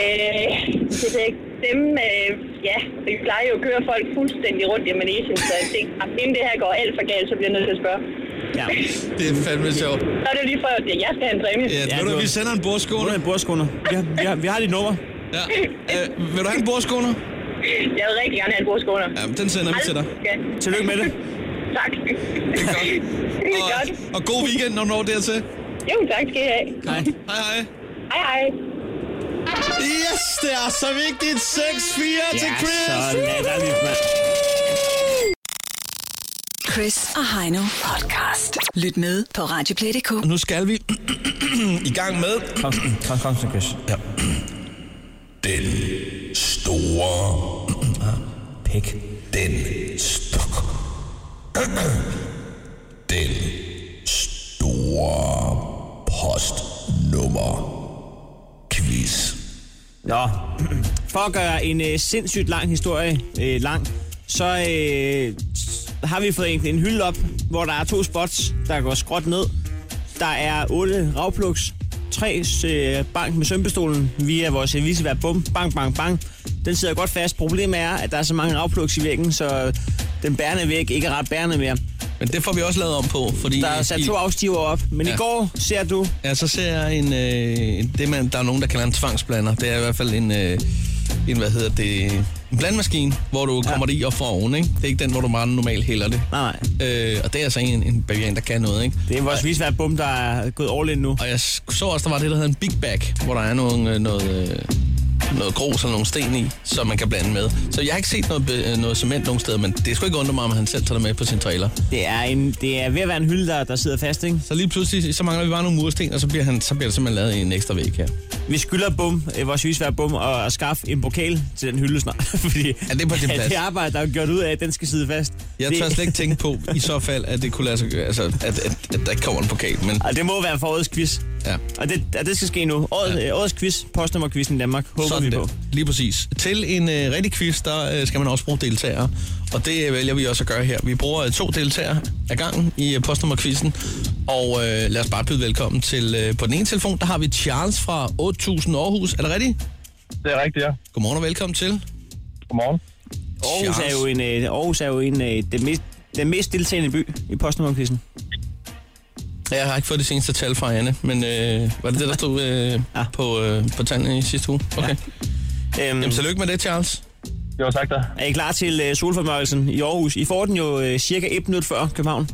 Speaker 11: Øh, det ved jeg ikke. Dem, øh, ja, vi plejer jo at køre folk fuldstændig rundt i Manesien, så jeg tænkte, at inden det her går alt for galt, så bliver jeg nødt til at spørge.
Speaker 3: Ja.
Speaker 4: Det er fandme sjovt.
Speaker 11: Så er det lige for, at jeg skal have en præmie.
Speaker 4: Ja, ja,
Speaker 3: du
Speaker 4: du,
Speaker 3: har-
Speaker 4: vi sender en
Speaker 3: Hvor
Speaker 4: bordskåner.
Speaker 3: er en bordskåner? Vi har, vi har, vi har dit nummer.
Speaker 4: Ja. Øh, vil du have en bordskåner?
Speaker 11: Jeg vil rigtig gerne have en bordskåner.
Speaker 4: Ja, den sender vi til dig.
Speaker 11: Ja.
Speaker 3: Tillykke med det.
Speaker 11: Tak.
Speaker 4: Det er godt.
Speaker 11: Det er godt.
Speaker 4: Og, og god weekend, når du når dertil.
Speaker 11: Jo, tak skal I have.
Speaker 3: Hej.
Speaker 4: Hej, hej.
Speaker 11: Hej, hej.
Speaker 4: Yes, det er så vigtigt. 6-4 til Chris.
Speaker 3: så latterligt, mand.
Speaker 2: Chris og Heino podcast. Lyt med på Radioplay.dk.
Speaker 4: Og nu skal vi i gang med
Speaker 3: Kom, kom, kom, så kys.
Speaker 4: ja. den store
Speaker 3: Pæk.
Speaker 4: den store den store postnummer quiz.
Speaker 3: Nå, for at gøre en øh, sindssygt lang historie øh, lang, så øh, s- har vi fået en, en hylde op, hvor der er to spots, der går skråt ned. Der er otte ravplugs, tre øh, bank med sømpestolen via vores øh, visevær. Bum, bang, bang, bang. Den sidder godt fast. Problemet er, at der er så mange ravplugs i væggen, så den bærende væg ikke er ret bærende mere.
Speaker 4: Men det får vi også lavet om på, fordi
Speaker 3: Der er sat
Speaker 4: i-
Speaker 3: to afstiver op, men ja.
Speaker 4: Ja.
Speaker 3: i går ser du...
Speaker 4: Ja, så ser jeg en, øh, en- det man, der er nogen, der kalder en tvangsblander. Det er i hvert fald en, øh, en hvad hedder det, en blandmaskine, hvor du kommer det i og får oven, ikke? Det er ikke den, hvor du bare normalt hælder det.
Speaker 3: Nej, nej.
Speaker 4: Øh, og det er altså en, en bavian, der kan noget, ikke?
Speaker 3: Det er vores visevær bum, der er gået all in nu.
Speaker 4: Og jeg så også, der var det, der hedder en Big Bag, hvor der er nogle, øh, noget, øh, noget grus og nogle sten i, som man kan blande med. Så jeg har ikke set noget, be- øh, noget cement nogen steder, men det skulle ikke undre mig, om han selv tager det med på sin trailer.
Speaker 3: Det er, en, det er ved at være en hylde, der, der sidder fast, ikke?
Speaker 4: Så lige pludselig, så mangler vi bare nogle mursten, og så bliver, han, så bliver der simpelthen lavet en ekstra væg her.
Speaker 3: Vi skylder bum, øh, vores visvær bum, og at skaffe en pokal til den hylde snart. Fordi
Speaker 4: Ja, det er på din
Speaker 3: at
Speaker 4: plads.
Speaker 3: det arbejde, der er gjort ud af, at den skal sidde fast.
Speaker 4: Jeg
Speaker 3: det,
Speaker 4: tør slet ikke tænke på, i så fald, at det kunne lade sig gøre, altså, at, at, at der ikke kommer en pokal, men
Speaker 3: Og det må være for årets quiz.
Speaker 4: ja.
Speaker 3: Og det, og det skal ske nu. Året, ja. årets quiz, postnummerquizzen i Danmark, håber
Speaker 4: Sådan
Speaker 3: vi på.
Speaker 4: der. Lige præcis. Til en øh, rigtig quiz, der øh, skal man også bruge deltagere. Og det øh, vælger vi også at gøre her. Vi bruger øh, to deltagere ad gangen i øh, postnummerquizzen. Og øh, lad os bare byde velkommen til... Øh, på den ene telefon, der har vi Charles fra 8000 Aarhus. Er det rigtigt?
Speaker 12: Det er rigtigt, ja.
Speaker 4: Godmorgen og velkommen til.
Speaker 12: Godmorgen.
Speaker 3: Aarhus er jo en, øh, Aarhus er jo en øh, den, mest, den mest deltagende by i postnummerquizzen.
Speaker 4: Jeg har ikke fået det seneste tal fra Anne, men øh, var det det, der stod øh, ja.
Speaker 3: Ja.
Speaker 4: på, øh, på tallene i sidste uge? Okay. Ja.
Speaker 3: Øhm,
Speaker 4: Jamen, tillykke med det, Charles.
Speaker 12: Jo, tak da.
Speaker 3: er I klar til øh, solformørkelsen i Aarhus? I får den jo øh, cirka et minut før København.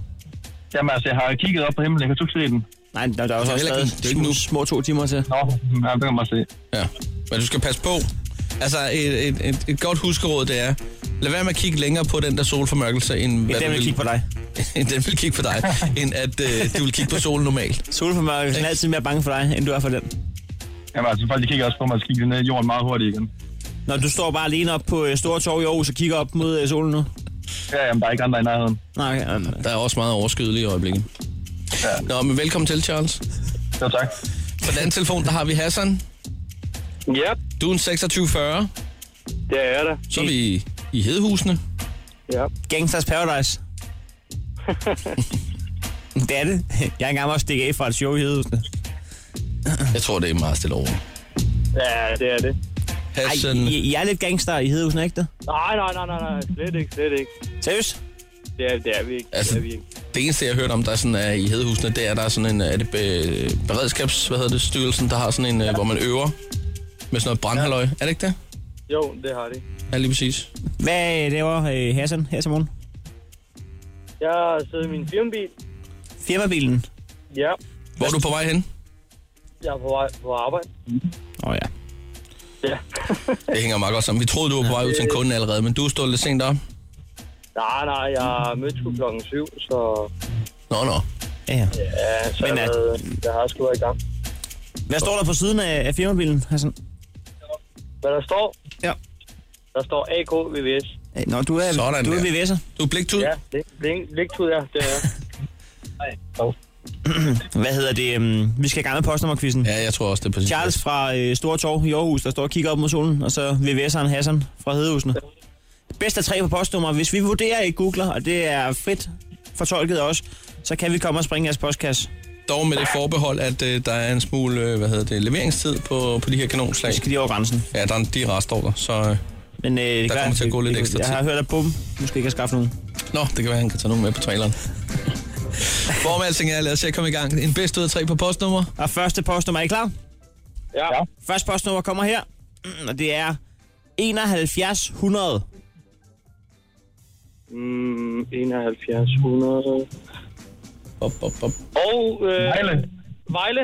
Speaker 12: Jamen altså, jeg har kigget op på himlen. Jeg kan du ikke se den?
Speaker 3: Nej, der, der er jo så
Speaker 4: heller
Speaker 3: stadig
Speaker 4: ikke- det er ikke nu.
Speaker 3: små, små to timer til.
Speaker 12: Nå, ja, det kan man bare se.
Speaker 4: Ja, men du skal passe på. Altså, et, et, et, et godt huskeråd, det er, lad være med at kigge længere på den der solformørkelse, end,
Speaker 3: Det er
Speaker 4: du
Speaker 3: dem, jeg kigger på dig.
Speaker 4: end den vil kigge på dig, end at øh, du vil kigge på solen normalt.
Speaker 3: Solformørkelsen er altid mere bange for dig, end du er for den.
Speaker 12: Jamen altså, folk de kigger også på mig og kigger ned i jorden meget hurtigt igen.
Speaker 3: Når du står bare alene op på øh, Store Torv i Aarhus og kigger op mod øh, solen nu?
Speaker 12: Ja, jamen, der er ikke andre i nærheden.
Speaker 3: Nej, okay. um,
Speaker 4: Der er også meget overskydelig i øjeblikket.
Speaker 12: Ja.
Speaker 4: Nå, men velkommen til, Charles.
Speaker 12: Jo, tak.
Speaker 4: På den anden telefon, der har vi Hassan.
Speaker 7: Ja,
Speaker 4: Du er en 2640,
Speaker 7: det er det.
Speaker 4: så er vi i, i Hedehusene.
Speaker 7: Ja.
Speaker 3: Gangsters Paradise. det er det. Jeg er engang også stikket af fra et show i Hedehusene.
Speaker 4: Jeg tror, det er meget stille over.
Speaker 7: ja, det er det.
Speaker 3: Ej,
Speaker 4: Hassan,
Speaker 3: I, I er lidt gangster i Hedehusene, ikke det?
Speaker 7: Nej, nej, nej, nej, nej. Slet ikke, slet ikke.
Speaker 3: Seriøst?
Speaker 7: Det er, det er vi ikke. Altså...
Speaker 4: Altså-
Speaker 7: Det er vi ikke.
Speaker 4: det eneste, jeg har hørt om, der sådan er i Hedehusene, det er, der er sådan en er det be, beredskabs, hvad hedder det, styrelsen, der har sådan en, ja. hvor man øver med sådan noget brandhalløj. Er det ikke det?
Speaker 7: Jo, det har det.
Speaker 4: Ja, lige præcis.
Speaker 3: Hvad øh, laver øh, Hassan her til morgen?
Speaker 7: Jeg har siddet i min firmabil.
Speaker 3: Firmabilen.
Speaker 7: Ja,
Speaker 4: Hvor er du på vej hen?
Speaker 7: jeg er på vej på arbejde.
Speaker 3: Åh oh, ja.
Speaker 12: Ja.
Speaker 4: Det hænger meget godt sammen. Vi troede, du var på vej ud til en kunde allerede, men du stod lidt sent op.
Speaker 12: Nej, nej, jeg mødte sgu klokken syv, så
Speaker 4: Nå, nå.
Speaker 3: Ja.
Speaker 12: ja, så
Speaker 3: Men
Speaker 12: Men,
Speaker 3: er-
Speaker 12: jeg, havde, jeg har sgu været i gang.
Speaker 3: Hvad står der på siden af, af firmabilen, Hassan?
Speaker 12: Hvad der står?
Speaker 3: Ja.
Speaker 12: Der står AK VVS.
Speaker 3: Øh, Nå, du er,
Speaker 4: Sådan
Speaker 3: du er
Speaker 4: der.
Speaker 3: VVS'er.
Speaker 4: Du er bliktud.
Speaker 12: Ja, læg, læg, lægtud, ja, det er jeg.
Speaker 3: Hvad hedder det? øhm, Vi skal i gang med postnummerquizzen.
Speaker 4: Ja, jeg tror også, det er på sin
Speaker 3: Charles
Speaker 4: plads.
Speaker 3: fra øh, Store Torv i Aarhus, der står og kigger op mod solen, og så VVS'eren Hassan fra Hedehusene. Bedst af tre på postnummer. Hvis vi vurderer, at I googler, og det er frit fortolket også, så kan vi komme og springe jeres postkasse. Ah,
Speaker 4: Dog med det forbehold, at øh, der er en smule, øh, hvad hedder det, leveringstid på, på de her kanonslag.
Speaker 3: Så skal de over grænsen.
Speaker 4: Ja, der er en de rest over, så... Øh.
Speaker 3: Men øh, det
Speaker 4: Der
Speaker 3: gør-
Speaker 4: kommer til at gå lidt
Speaker 3: det-
Speaker 4: ekstra
Speaker 3: Jeg
Speaker 4: tid.
Speaker 3: har hørt, at Bum måske ikke har skaffet nogen.
Speaker 4: Nå, det kan være, han kan tage nogen med på traileren. Hvor med alting er, lad os se at komme i gang. En bedst ud af tre på postnummer.
Speaker 3: Og første postnummer, er I klar?
Speaker 12: Ja. ja.
Speaker 3: Første postnummer kommer her, Mm, og det er 7100.
Speaker 12: Mm, 71, 100.
Speaker 4: Op, op, op.
Speaker 12: Og... Øh, Vejle. Vejle.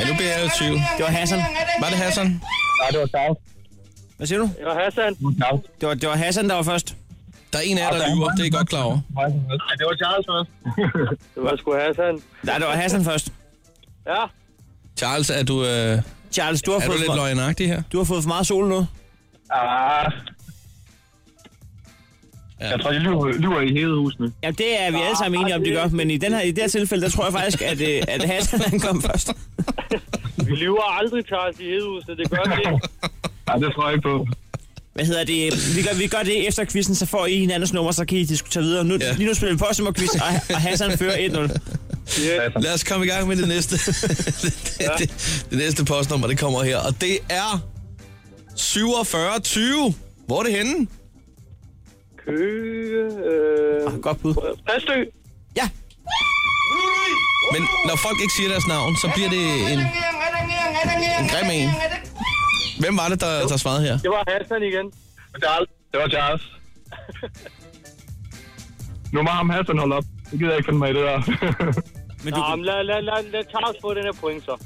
Speaker 4: Ja, nu bliver jeg jo i tvivl.
Speaker 3: Det var Hassan.
Speaker 4: Var det Hassan?
Speaker 12: Nej, det var Claus.
Speaker 3: Hvad siger du?
Speaker 12: Det var Hassan.
Speaker 3: Det var, det var Hassan, der var først.
Speaker 4: Der er en af jer, der lyver. Det er I godt klar over.
Speaker 12: Ja, det var Charles først. det var sgu Hassan.
Speaker 3: Nej, det var Hassan først.
Speaker 12: Ja.
Speaker 4: Charles, er du, øh,
Speaker 3: Charles, Altså, du har,
Speaker 4: er du
Speaker 3: fået
Speaker 4: lidt
Speaker 3: for,
Speaker 4: løgnagtig her?
Speaker 3: du har fået for meget sol nu.
Speaker 12: Ah.
Speaker 4: Ja.
Speaker 12: tror, de lyver, lyver i hedehusene.
Speaker 3: Ja, det er vi alle sammen enige om, det gør. Men i, den her, i det her tilfælde, der tror jeg faktisk, at, øh, at Hassan han kom først.
Speaker 12: Vi lyver aldrig, Charles, i hedehusene. Det gør vi ikke. Ja, det tror jeg ikke på.
Speaker 3: Hvad hedder det? Vi gør, vi gør det efter quizzen, så får I hinandens nummer, så kan I diskutere videre. Nu,
Speaker 4: Ja.
Speaker 3: ja. Lige nu spiller vi postnummerquiz, og, og Hassan fører 1-0.
Speaker 12: Yeah.
Speaker 4: Lad os komme i gang med det næste. det, det, det, det næste postnummer, det kommer her. Og det er 4720. Hvor er det henne?
Speaker 12: Køge... Øh,
Speaker 4: Ah,
Speaker 3: Godt bud.
Speaker 12: Præstø.
Speaker 3: Ja,
Speaker 4: Men når folk ikke siger deres navn, så bliver det en, en grim en. Hvem var det, der, der svarede her?
Speaker 12: Det var Hassan igen. Charles. Det var Charles. nu må ham Hassan holde op. Det gider jeg ikke finde mig i det der.
Speaker 3: men du,
Speaker 13: Nå, men lad, lad, lad, lad Charles få den her point, så.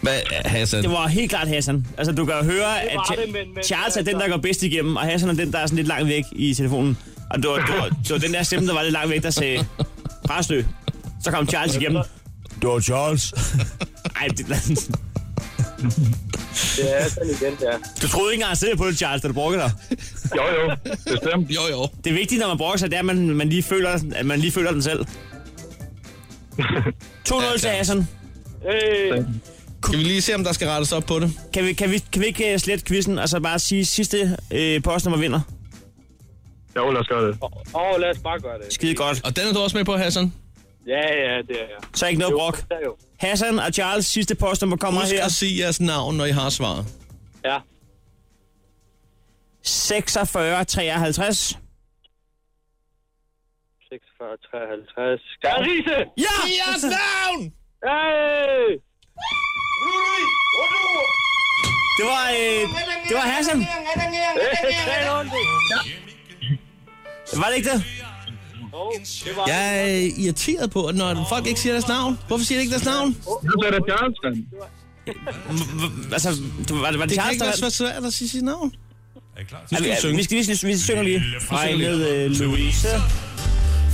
Speaker 4: Hvad, Hassan?
Speaker 3: det var helt klart Hassan. Altså, du kan jo høre, at Cha-
Speaker 13: det, men- men-
Speaker 3: Charles er den,
Speaker 13: altså-
Speaker 3: der går bedst igennem, og Hassan er den, der er sådan lidt langt væk i telefonen. Og det var, det var, det var den der stemme, der var lidt langt væk, der sagde, Præstø. Så kom Charles igennem. Det var Charles. Ej, det,
Speaker 13: Det er sådan igen, ja.
Speaker 3: du troede ikke engang at sidde på det, Charles, da du brokkede dig.
Speaker 12: jo, jo. Bestemt.
Speaker 4: Jo, jo.
Speaker 3: Det vigtige, når man brokker sig, det er, at man, man, lige, føler, at man lige føler den selv. 2-0 til
Speaker 4: klart.
Speaker 3: Hassan.
Speaker 13: Øh,
Speaker 4: Skal vi lige se, om der skal rettes op på det?
Speaker 3: Kan vi, kan, vi, kan vi ikke øh, slette quizzen, og så bare sige sidste øh, postnummer vinder?
Speaker 12: Jo, lad os gøre det.
Speaker 13: og, og lad os bare gøre det.
Speaker 3: Skide godt.
Speaker 4: Og den er du også med på, Hassan.
Speaker 13: Ja, ja, det er jeg.
Speaker 3: Så ikke noget brok.
Speaker 13: Det er jo.
Speaker 3: Hassan og Charles, sidste postnummer kommer
Speaker 4: Husk
Speaker 3: her.
Speaker 4: at sige jeres navn, når I har svaret.
Speaker 13: Ja.
Speaker 3: 46 53.
Speaker 13: 46, 53. Garise!
Speaker 3: Ja! Yes,
Speaker 4: navn!
Speaker 13: Hey!
Speaker 3: det var, øh, det var Hassan. Var det ikke det?
Speaker 4: Jeg er irriteret på, at når folk ikke siger deres navn, hvorfor siger de ikke deres navn?
Speaker 12: Nu er det Charles, mand.
Speaker 3: Altså, du- var det, var det,
Speaker 4: Det kan
Speaker 3: Charles,
Speaker 4: ikke
Speaker 3: der
Speaker 4: også
Speaker 3: vandt?
Speaker 4: være svært at sige sit navn.
Speaker 3: Altså, Ja, vi, ja, vi skal lige vi synger lige. Fra
Speaker 4: synger
Speaker 3: med øh, Louise.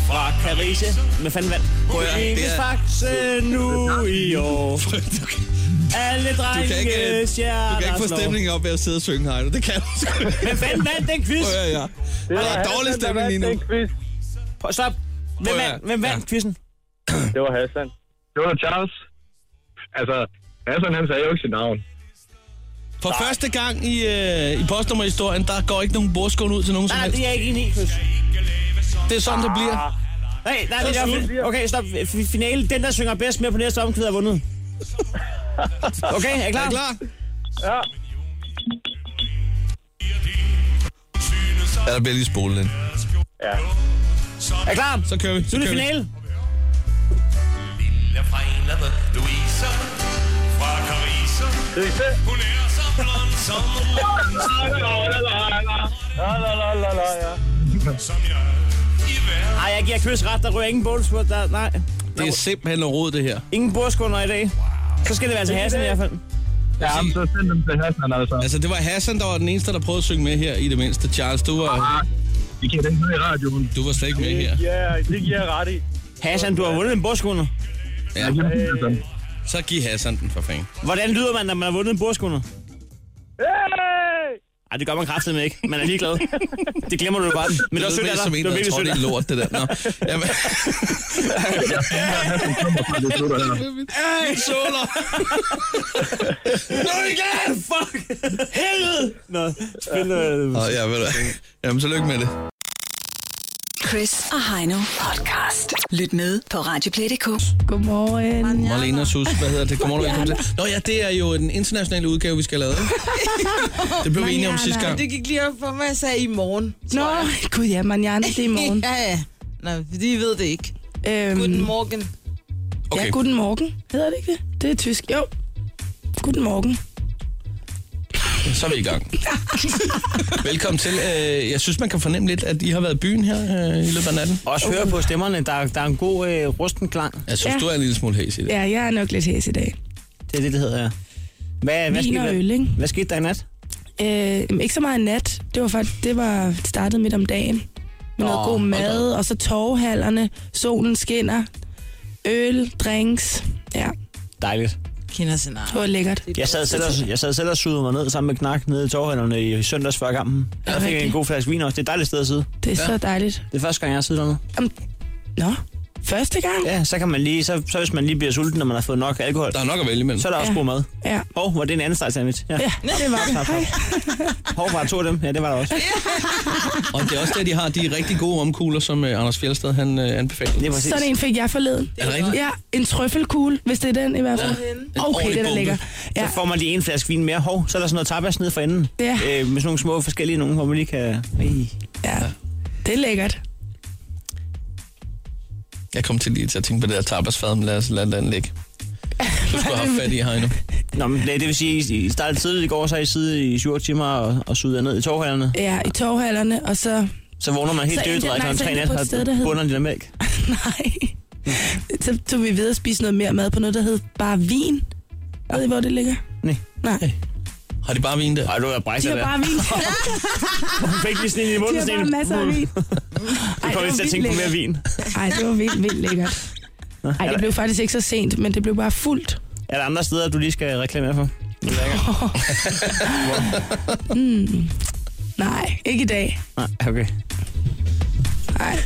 Speaker 3: Fra Carise. Med fanden vand. Prøv
Speaker 4: at høre, det
Speaker 3: Ingen
Speaker 4: er-
Speaker 3: faxe nu i år. Alle
Speaker 4: ikke, øh,
Speaker 3: drenge stjerner
Speaker 4: Du kan ikke få stemningen op ved at sidde og synge, Heino. Det kan du sgu ikke.
Speaker 3: Hvem fanden vandt den quiz?
Speaker 4: Prøv at høre, ja. Der er dårlig stemning lige nu.
Speaker 3: Prøv, stop. Hvem
Speaker 4: Prøv at-
Speaker 3: vandt, hvem vandt
Speaker 4: ja.
Speaker 3: quizzen?
Speaker 13: Det var Hassan.
Speaker 12: Det var Charles. Altså, Hassan han sagde jo ikke sit navn.
Speaker 4: For første gang i, øh, i postnummerhistorien, der går ikke nogen bordskål ud til nogen som
Speaker 3: Nej,
Speaker 4: helst.
Speaker 3: det er jeg ikke enig i, Chris.
Speaker 4: Det er sådan, det bliver.
Speaker 3: Ah. Nej, nej, det er jeg. Okay, stop. F- Finale. Den, der synger bedst med på næste omkvæd, har vundet. Okay, er I
Speaker 4: Er
Speaker 3: klar?
Speaker 4: I klar?
Speaker 13: Ja.
Speaker 4: Ja, der bliver lige spolet ind.
Speaker 3: Er I klar?
Speaker 4: Så kører vi.
Speaker 3: Så
Speaker 4: Så
Speaker 3: er det
Speaker 4: kører vi.
Speaker 3: finale. Nej, jeg giver Chris ret. Der ryger ingen bonusbord. Der, nej.
Speaker 4: Det er simpelthen noget rod, det her.
Speaker 3: Ingen bordskunder i dag. Så skal det være altså Hassan i hvert fald.
Speaker 4: Ja, men så send dem til Hassan, altså. Altså, det var Hassan, der var den eneste, der prøvede at synge med her i det mindste. Charles, du var... I Ah, kan den i radioen. Du var slet ikke med her.
Speaker 13: Ja, det giver jeg ret i.
Speaker 3: Hassan, du har vundet en bordskunder.
Speaker 4: Ja. Så giv Hassan den for fanden.
Speaker 3: Hvordan lyder man, når man har vundet en bordskunder?
Speaker 13: Hey!
Speaker 3: Ej, det gør man kraftedeme ikke. Man er ligeglad. Det glemmer du godt. Men det var
Speaker 4: lød
Speaker 3: sødt
Speaker 4: mest
Speaker 3: af dig.
Speaker 4: som
Speaker 3: Det
Speaker 4: en,
Speaker 3: var
Speaker 4: der
Speaker 3: virkelig
Speaker 4: tror,
Speaker 3: sødt
Speaker 4: det
Speaker 3: af
Speaker 4: er
Speaker 3: dig.
Speaker 4: lort, det der. Nå. Jamen.
Speaker 3: Hey, Soler! Nå, igen! Fuck! Helvede! Nå, spil noget.
Speaker 4: Nå, ja, ved du. hvad. Jamen, så lykke med det.
Speaker 2: Chris og Heino podcast. Lyt med på Radioplay.dk. Godmorgen.
Speaker 4: Marlene Sus, hvad hedder det? Godmorgen, velkommen til. Nå ja, det er jo den internationale udgave, vi skal lave. ikke? Det blev vi enige om sidste gang.
Speaker 14: Det gik lige op for mig, jeg sagde i morgen.
Speaker 15: Nå, gud ja, manjana, det er i morgen.
Speaker 14: ja, ja. Nå, de ved det ikke.
Speaker 15: Øhm,
Speaker 14: Guten Morgen.
Speaker 15: Okay. Ja, guten Morgen. Hedder det ikke det? Det er tysk. Jo. Guten Morgen.
Speaker 4: Så er vi i gang. Velkommen til. Øh, Jeg synes, man kan fornemme lidt, at I har været i byen her øh, i løbet af natten.
Speaker 3: Også høre på stemmerne. Der, der er en god øh, rusten klang.
Speaker 4: Jeg synes,
Speaker 15: Ja.
Speaker 4: du er en lille smule hæs i det.
Speaker 15: Ja, jeg er nok lidt hæs i dag.
Speaker 3: Det er det, det hedder, ja. Hvad, hvad,
Speaker 15: Vin
Speaker 3: skete,
Speaker 15: og
Speaker 3: der-
Speaker 15: øl, ikke?
Speaker 3: hvad skete der i nat?
Speaker 15: Øh, jamen, ikke så meget nat. Det var faktisk, det var startet midt om dagen. Med noget
Speaker 3: Nå,
Speaker 15: god
Speaker 3: hold
Speaker 15: mad, og så torvhallerne, solen skinner, øl, drinks. Ja,
Speaker 3: Dejligt.
Speaker 14: Kender scenarie.
Speaker 15: det var lækkert.
Speaker 3: Jeg sad selv og, jeg sad selv og sugede mig ned sammen med Knak nede i torvhænderne i søndags før kampen. Der fik jeg en god flaske vin også. Det er et dejligt sted at sidde.
Speaker 15: Det er så dejligt.
Speaker 3: Det er første gang, jeg har siddet dernede.
Speaker 15: Nå, første gang?
Speaker 3: Ja, så kan man lige, så, så hvis man lige bliver sulten, når man har fået nok alkohol. Der
Speaker 4: er nok at vælge imellem.
Speaker 3: Så er der også
Speaker 15: Ja.
Speaker 3: god mad.
Speaker 15: Ja.
Speaker 3: Hov, var det en anden steg sandwich?
Speaker 15: Ja, det var det. Hej.
Speaker 3: Hov, var der to af dem? Ja, det var der også.
Speaker 4: Og det er også der, de har de rigtig gode omkugler, som øh, Anders Fjeldsted han øh, anbefaler.
Speaker 3: Det
Speaker 15: Sådan en fik jeg forleden.
Speaker 4: Er det rigtigt?
Speaker 15: Ja, en trøffelkugle, hvis det er den i hvert fald. Okay, den er lækker.
Speaker 3: Ja.
Speaker 15: Ja.
Speaker 3: Så får man lige en flaske vin mere. Hov, så er der sådan noget tapas nede for enden.
Speaker 15: Ja.
Speaker 3: Øh, med sådan nogle små forskellige nogen, hvor man lige kan... Ej.
Speaker 15: Ja, det er lækkert.
Speaker 4: Jeg kom til lige til at tænke på det der tapasfad, men lad os lade den ligge. Du skulle have haft fat i Heino.
Speaker 3: Nå, men det det vil sige, I- I startede tidligt i går, så har I siddet i 7 timer og, og suget jer ned i torvhallerne.
Speaker 15: Ja, i torvhallerne, og så...
Speaker 3: Så vågner man helt
Speaker 15: Så
Speaker 3: dødt,
Speaker 15: endte-
Speaker 3: og
Speaker 15: nej,
Speaker 3: klokken
Speaker 15: så
Speaker 3: tre i
Speaker 15: endte
Speaker 3: nat
Speaker 15: på et sted, der
Speaker 3: har
Speaker 15: hed-
Speaker 3: bunden lidt af mælk.
Speaker 15: Så tog vi ved at spise noget mere mad på noget, der hed bare vin. Ja. Ved I, hvor det ligger?
Speaker 3: Nej.
Speaker 15: Nej.
Speaker 4: Har de bare vin der?
Speaker 3: Nej, du er brækket
Speaker 15: De har bare vin.
Speaker 3: Hun fik lige sådan en i
Speaker 15: De
Speaker 3: munden.
Speaker 15: har
Speaker 3: sådan
Speaker 15: bare
Speaker 3: en-
Speaker 15: masser af vin.
Speaker 3: Nu kommer vi til at tænke på mere vin.
Speaker 15: Nej, det var vildt, vildt lækkert. Ej, det blev faktisk ikke så sent, men det blev bare fuldt.
Speaker 3: Er der andre steder, du lige skal reklamere for?
Speaker 15: Mm. Nej, ikke i dag.
Speaker 3: Nej, okay.
Speaker 15: Nej.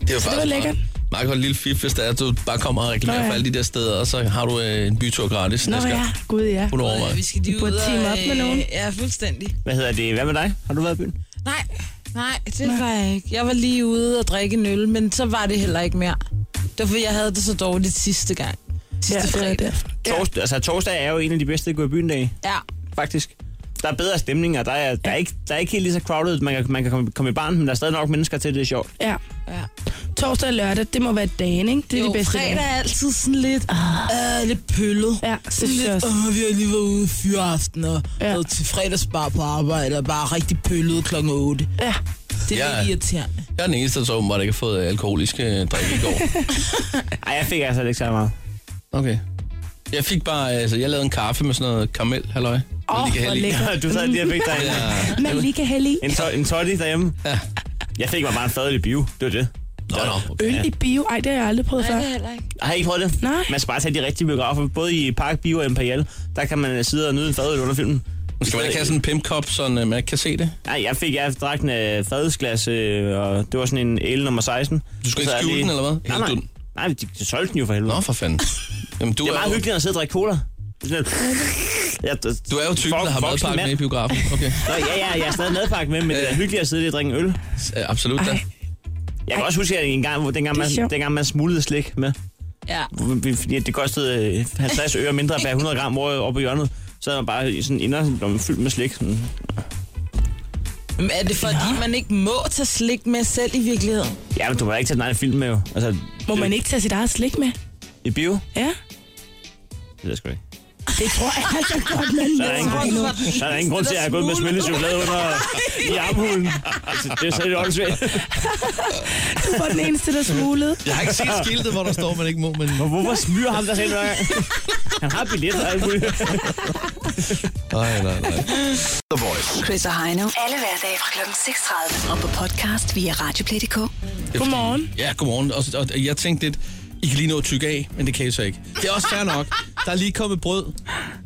Speaker 4: Det er jo
Speaker 15: Så det var
Speaker 4: faktisk
Speaker 15: lækkert.
Speaker 4: meget- Meget godt lille fif, hvis det er, at du bare kommer og reklamerer
Speaker 15: Nå, ja.
Speaker 4: for alle de der steder, og så har du øh, en bytur gratis
Speaker 15: Nå
Speaker 4: næste
Speaker 15: ja,
Speaker 4: gang.
Speaker 15: gud ja.
Speaker 4: Kunne du overveje?
Speaker 14: Vi skal lige
Speaker 15: Vi burde
Speaker 14: ud og...
Speaker 15: team op med
Speaker 14: øh,
Speaker 15: nogen.
Speaker 14: Ja, fuldstændig.
Speaker 3: Hvad hedder det? Hvad med dig? Har du været i byen?
Speaker 14: Nej, nej, det var jeg ikke. Jeg var lige ude og drikke en øl, men så var det heller ikke mere. Det var, fordi jeg havde det så dårligt sidste gang. Sidste ja, fredag.
Speaker 3: Torst, altså, torsdag er jo en af de bedste gå i byen dage,
Speaker 14: Ja.
Speaker 3: faktisk. Der er bedre stemning, og der er, der er, ikke, der er ikke helt lige så crowded. Man kan, man kan komme, komme i barn, men der er stadig nok mennesker til, det er sjovt.
Speaker 15: Ja.
Speaker 14: ja.
Speaker 15: Torsdag og lørdag, det må være dagen, ikke? Det er
Speaker 14: jo,
Speaker 15: det bedste
Speaker 14: fredag
Speaker 15: dage.
Speaker 14: er altid sådan lidt, ah. øh, lidt pøllet.
Speaker 15: Ja, så
Speaker 14: sådan lidt,
Speaker 15: synes jeg
Speaker 14: åh, vi har lige været ude i fyreaften og ja. været til fredagsbar på arbejde og bare rigtig pøllet klokken 8.
Speaker 15: Ja.
Speaker 14: Det er
Speaker 4: Ja.
Speaker 14: lidt irriterende.
Speaker 4: Jeg er den eneste, der så åbenbart ikke har fået øh, alkoholiske øh, drikke i går.
Speaker 3: Ej, jeg fik altså ikke så meget.
Speaker 4: Okay. Jeg fik bare, altså, jeg lavede en kaffe med sådan noget karamel, halløj.
Speaker 15: Åh, hvor lækkert.
Speaker 3: Du sad lige og fik dig en,
Speaker 15: Man lige kan hælde i.
Speaker 3: en, to, en toddy derhjemme.
Speaker 4: Ja.
Speaker 3: Jeg fik mig bare en fadøl i bio. Det var det.
Speaker 4: Nå, nå. Okay.
Speaker 15: Øl i bio? Ej, det har jeg aldrig prøvet før.
Speaker 3: Har I ikke prøvet det?
Speaker 15: Nej.
Speaker 3: Man skal bare tage de rigtige biografer. Både i Park Bio og Imperial, der kan man sidde og nyde en fadøl under filmen.
Speaker 4: Skal man ikke have sådan en pimpkop, så øh, man ikke kan se det?
Speaker 3: Nej, jeg fik jeg drak en øh, fadelsglas, øh, og det var sådan en el nummer 16.
Speaker 4: Du skal
Speaker 3: Så
Speaker 4: ikke
Speaker 3: er
Speaker 4: skjule
Speaker 3: det-
Speaker 4: den, eller hvad?
Speaker 3: Nej,
Speaker 4: Hældte
Speaker 3: nej.
Speaker 4: du den?
Speaker 3: Nej, de, de solgte den jo for helvede.
Speaker 4: Nå, for fanden. Jamen, du
Speaker 3: det er,
Speaker 4: er
Speaker 3: meget
Speaker 4: jo-
Speaker 3: hyggeligt at sidde og drikke cola. Sådan et- Jeg,
Speaker 4: Du er jo typen,
Speaker 3: Vok-
Speaker 4: der har
Speaker 3: voksen
Speaker 4: madpakke
Speaker 3: mand.
Speaker 4: med i biografen. Okay. Øh.
Speaker 3: Nå, ja, ja, jeg er stadig madpakke med, men det er hyggeligt at sidde lige og drikke en øl.
Speaker 4: Ja, absolut da.
Speaker 3: Jeg kan også huske, at en gang, hvor dengang,
Speaker 15: Det er
Speaker 3: man,
Speaker 15: sjovt.
Speaker 3: dengang man smuglede slik med,
Speaker 14: Ja.
Speaker 3: vi- fordi at det kostede øh, 50 øre mindre per 100 gram over, over på hjørnet, så havde man bare i sådan inder, når man fyldt med slik. Sådan.
Speaker 14: Men er det fordi, man ikke må tage slik med selv i virkeligheden?
Speaker 3: Ja, men du må da ikke tage den egen film med jo. Altså,
Speaker 15: Må man ikke tage sit eget slik med?
Speaker 3: I bio?
Speaker 15: Ja.
Speaker 3: Det ved jeg sgu ikke.
Speaker 15: Det tror jeg altså godt, man
Speaker 3: Så er der ingen grund, så er der ingen grund til, at jeg er gået med smeltet chokolade under i armhulen. Altså, det er så lidt åndssvagt.
Speaker 15: Du var den eneste, der smuglede.
Speaker 4: Jeg har ikke set skiltet, hvor der står, man ikke må. Men...
Speaker 3: Hvorfor smyrer ham der hen? hver gang? Han har billetter og alt muligt.
Speaker 4: Nej, nej, nej.
Speaker 8: The Voice.
Speaker 2: Chris og Heino. Alle hverdage fra kl. 6.30. Og på podcast via Radioplay.dk.
Speaker 15: Godmorgen.
Speaker 4: Ja, godmorgen. Og, og jeg tænkte lidt, I kan lige nå at tykke af, men det kan I så ikke. Det er også fair nok. Der er lige kommet brød.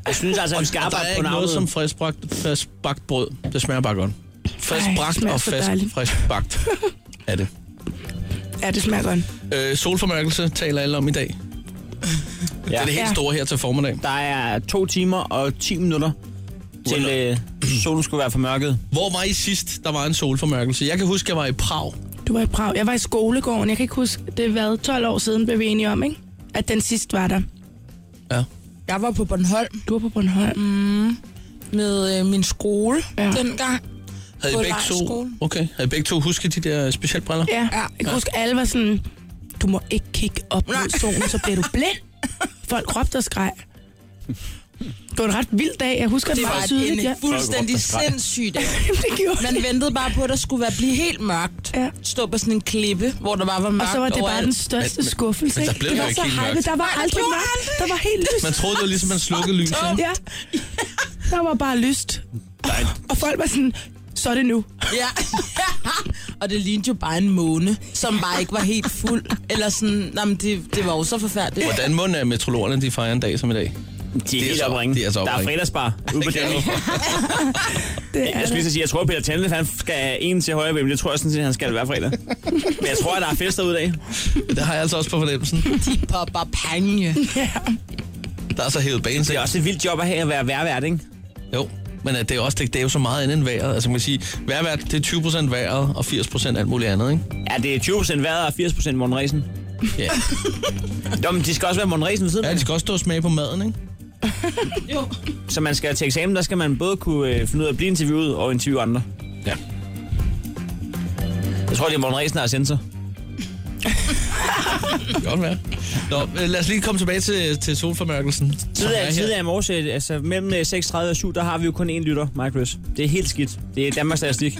Speaker 3: Jeg synes altså, vi skal
Speaker 4: og, og der
Speaker 3: arbejde
Speaker 4: er
Speaker 3: på
Speaker 4: ikke noget
Speaker 3: navnet.
Speaker 4: som friskbagt, friskbagt brød. Det smager bare godt. Friskbagt
Speaker 15: smager
Speaker 4: og
Speaker 15: så
Speaker 4: frisk,
Speaker 15: dejligt.
Speaker 4: friskbagt er det.
Speaker 15: Ja, det smager godt.
Speaker 4: Øh, solformørkelse taler alle om i dag. Ja. Det er det helt
Speaker 15: Ja.
Speaker 4: store her til formiddag.
Speaker 3: Der er to timer og 10 minutter, til øh, solen skulle være formørket.
Speaker 4: Hvor var I sidst, der var en solformørkelse? Jeg kan huske, jeg var i Prag.
Speaker 15: Du var i Prag. Jeg var i skolegården. Jeg kan ikke huske, det har været 12 år siden, blev vi enige om, ikke? At den sidst var der.
Speaker 14: Jeg var på Bornholm.
Speaker 15: Du var på Bornholm.
Speaker 14: Mm, med øh, min skole
Speaker 15: Ja.
Speaker 14: ja. dengang.
Speaker 4: Havde I
Speaker 14: På
Speaker 4: begge to,
Speaker 14: lejrskolen.
Speaker 4: okay. Havde I begge to husket de der specialbriller?
Speaker 15: Ja, jeg kan
Speaker 4: Ja.
Speaker 15: huske, alle var sådan, du må ikke kigge op mod solen, så bliver du blind. Folk råbte og skreg. Det var en ret vild dag. Jeg husker, det,
Speaker 14: Det
Speaker 15: det
Speaker 14: var
Speaker 15: meget
Speaker 14: en
Speaker 15: tydeligt. Ja.
Speaker 14: ja. fuldstændig sindssyg dag.
Speaker 15: det gjorde
Speaker 14: Man ventede bare på, at der skulle være blive helt mørkt.
Speaker 15: Ja.
Speaker 14: Stå på sådan en klippe, hvor der bare var
Speaker 15: Og
Speaker 14: mørkt
Speaker 15: så var det bare
Speaker 14: overalt.
Speaker 15: den største
Speaker 4: Men- men-
Speaker 15: skuffelse.
Speaker 4: men der
Speaker 15: ikke?
Speaker 4: blev
Speaker 15: det
Speaker 4: jo
Speaker 15: var
Speaker 4: ikke
Speaker 15: så
Speaker 4: helt
Speaker 15: hypet.
Speaker 4: mørkt.
Speaker 15: Der var
Speaker 14: Nej, der
Speaker 15: aldrig
Speaker 14: gjorde
Speaker 15: mørkt.
Speaker 14: aldrig.
Speaker 15: Der var helt lyst.
Speaker 4: Man troede, det var ligesom, man slukkede lyset. ikke?
Speaker 15: Ja. Der var bare lyst. Og folk var sådan, så er det nu.
Speaker 14: Ja. og det lignede jo bare en måne, som bare ikke var helt fuld. Eller sådan, jamen det, det var jo så forfærdeligt.
Speaker 4: Hvordan må er metrologerne, de fejrer en dag som i dag?
Speaker 3: De er,
Speaker 4: er
Speaker 3: helt
Speaker 4: så-
Speaker 3: opringet.
Speaker 4: de er så
Speaker 3: der er
Speaker 4: opringet.
Speaker 3: fredagsbar ude på
Speaker 4: Det kan
Speaker 3: Danny.
Speaker 4: jeg
Speaker 15: Det er
Speaker 3: Jeg skulle lige til at sige, jeg tror, at Peter Tanle, han skal have en til højre ben. Det tror jeg sådan set, han skal hver fredag. Men jeg tror, at der er fester ud i dag.
Speaker 4: Det har jeg altså også på fornemmelsen.
Speaker 14: De popper panje.
Speaker 4: Der er så hævet banen
Speaker 3: Det er også et vildt job at have at være værvært, ikke?
Speaker 4: Jo, men at det er, også, det, det er jo så meget andet end vejret. Altså man kan sige, vejrvært, det er 20% vejret og 80% alt muligt andet, ikke?
Speaker 3: Ja, det er 20% vejret og 80% Morten Ræsen.
Speaker 4: Ja.
Speaker 3: Nå, men de skal også være Morten Ræsen ved siden
Speaker 4: ja,
Speaker 3: af.
Speaker 4: de skal også stå og smage på maden, ikke?
Speaker 14: Jo.
Speaker 3: Så man skal til eksamen, der skal man både kunne øh, finde ud af at blive interviewet og interviewe andre.
Speaker 4: Ja.
Speaker 3: Jeg tror, det er Morten Ræsen, der har sensor.
Speaker 4: Det kan godt være. Nå, øh, lad os lige komme tilbage til, til solformørkelsen. som er
Speaker 3: Tidligere,
Speaker 4: her.
Speaker 3: tidligere i morges, øh, altså mellem øh, 36 og 7, der har vi jo kun én lytter, Mike Chris. Det er helt skidt. Det er Danmarks Statistik.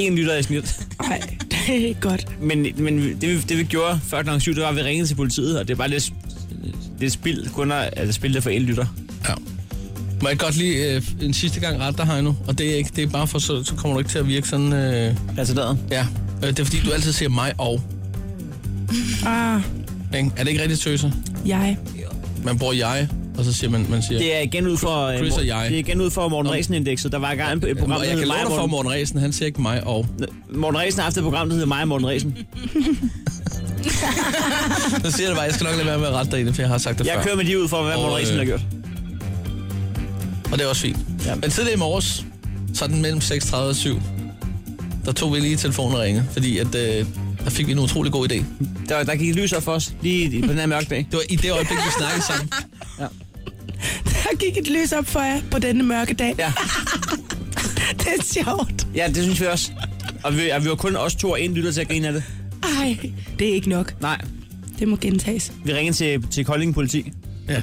Speaker 3: Én lytter i snit.
Speaker 15: Nej, det er ikke godt.
Speaker 3: Men, men det, vi, det, vi gjorde før kl. 7, det var, at vi ringede til politiet, og det er bare lidt, lidt spild kun at altså, spille det for én lytter.
Speaker 4: Ja. Må jeg godt lige øh, en sidste gang rette dig, Heino? Og det er, ikke, det er bare for, så, så kommer du ikke til at virke sådan... Øh,
Speaker 3: Altså der.
Speaker 4: ja, øh, det er fordi, du altid siger mig og.
Speaker 15: Ah,
Speaker 4: Ikke? Er det ikke rigtigt tøser?
Speaker 15: jeg.
Speaker 4: Man bruger jeg, og så siger man, man siger...
Speaker 3: Det er igen ud for, øh,
Speaker 4: Chris og jeg.
Speaker 3: Det er igen ud for Morten Ræsen-indekset. Der var i gang et program,
Speaker 4: og
Speaker 3: der
Speaker 4: jeg
Speaker 3: hed
Speaker 4: kan
Speaker 3: Mig
Speaker 4: love
Speaker 3: og
Speaker 4: dig for,
Speaker 3: Morten.
Speaker 4: Morten Ræsen, han siger ikke mig og.
Speaker 3: Morten Ræsen har haft et program, der hedder Mig og Morten Ræsen.
Speaker 4: Så siger jeg det bare, jeg skal nok lade være med at rette dig i det, for jeg har sagt det
Speaker 3: Jeg
Speaker 4: før.
Speaker 3: kører med de ud for, hvad
Speaker 4: Og,
Speaker 3: Morten Ræsen har
Speaker 4: øh,
Speaker 3: gjort.
Speaker 4: Og det er også fint.
Speaker 3: Ja.
Speaker 4: Men tidligere i morges, sådan mellem 6.30 og 7, der tog vi lige telefonen og ringede, fordi at, øh, der fik vi en utrolig god idé.
Speaker 3: Der, der gik lys op for os, lige på den her mørke dag.
Speaker 4: Det var i det øjeblik, vi snakkede sammen.
Speaker 15: Der gik et lys op for jer på denne mørke dag.
Speaker 3: Ja.
Speaker 15: Det er sjovt.
Speaker 3: Ja, det synes vi også. Og vi, og vi var kun os to og en lytter til at grine af det.
Speaker 15: Ej, det er ikke nok.
Speaker 3: Nej,
Speaker 15: Det må gentages.
Speaker 3: vi ringede til, til Kolding Politi.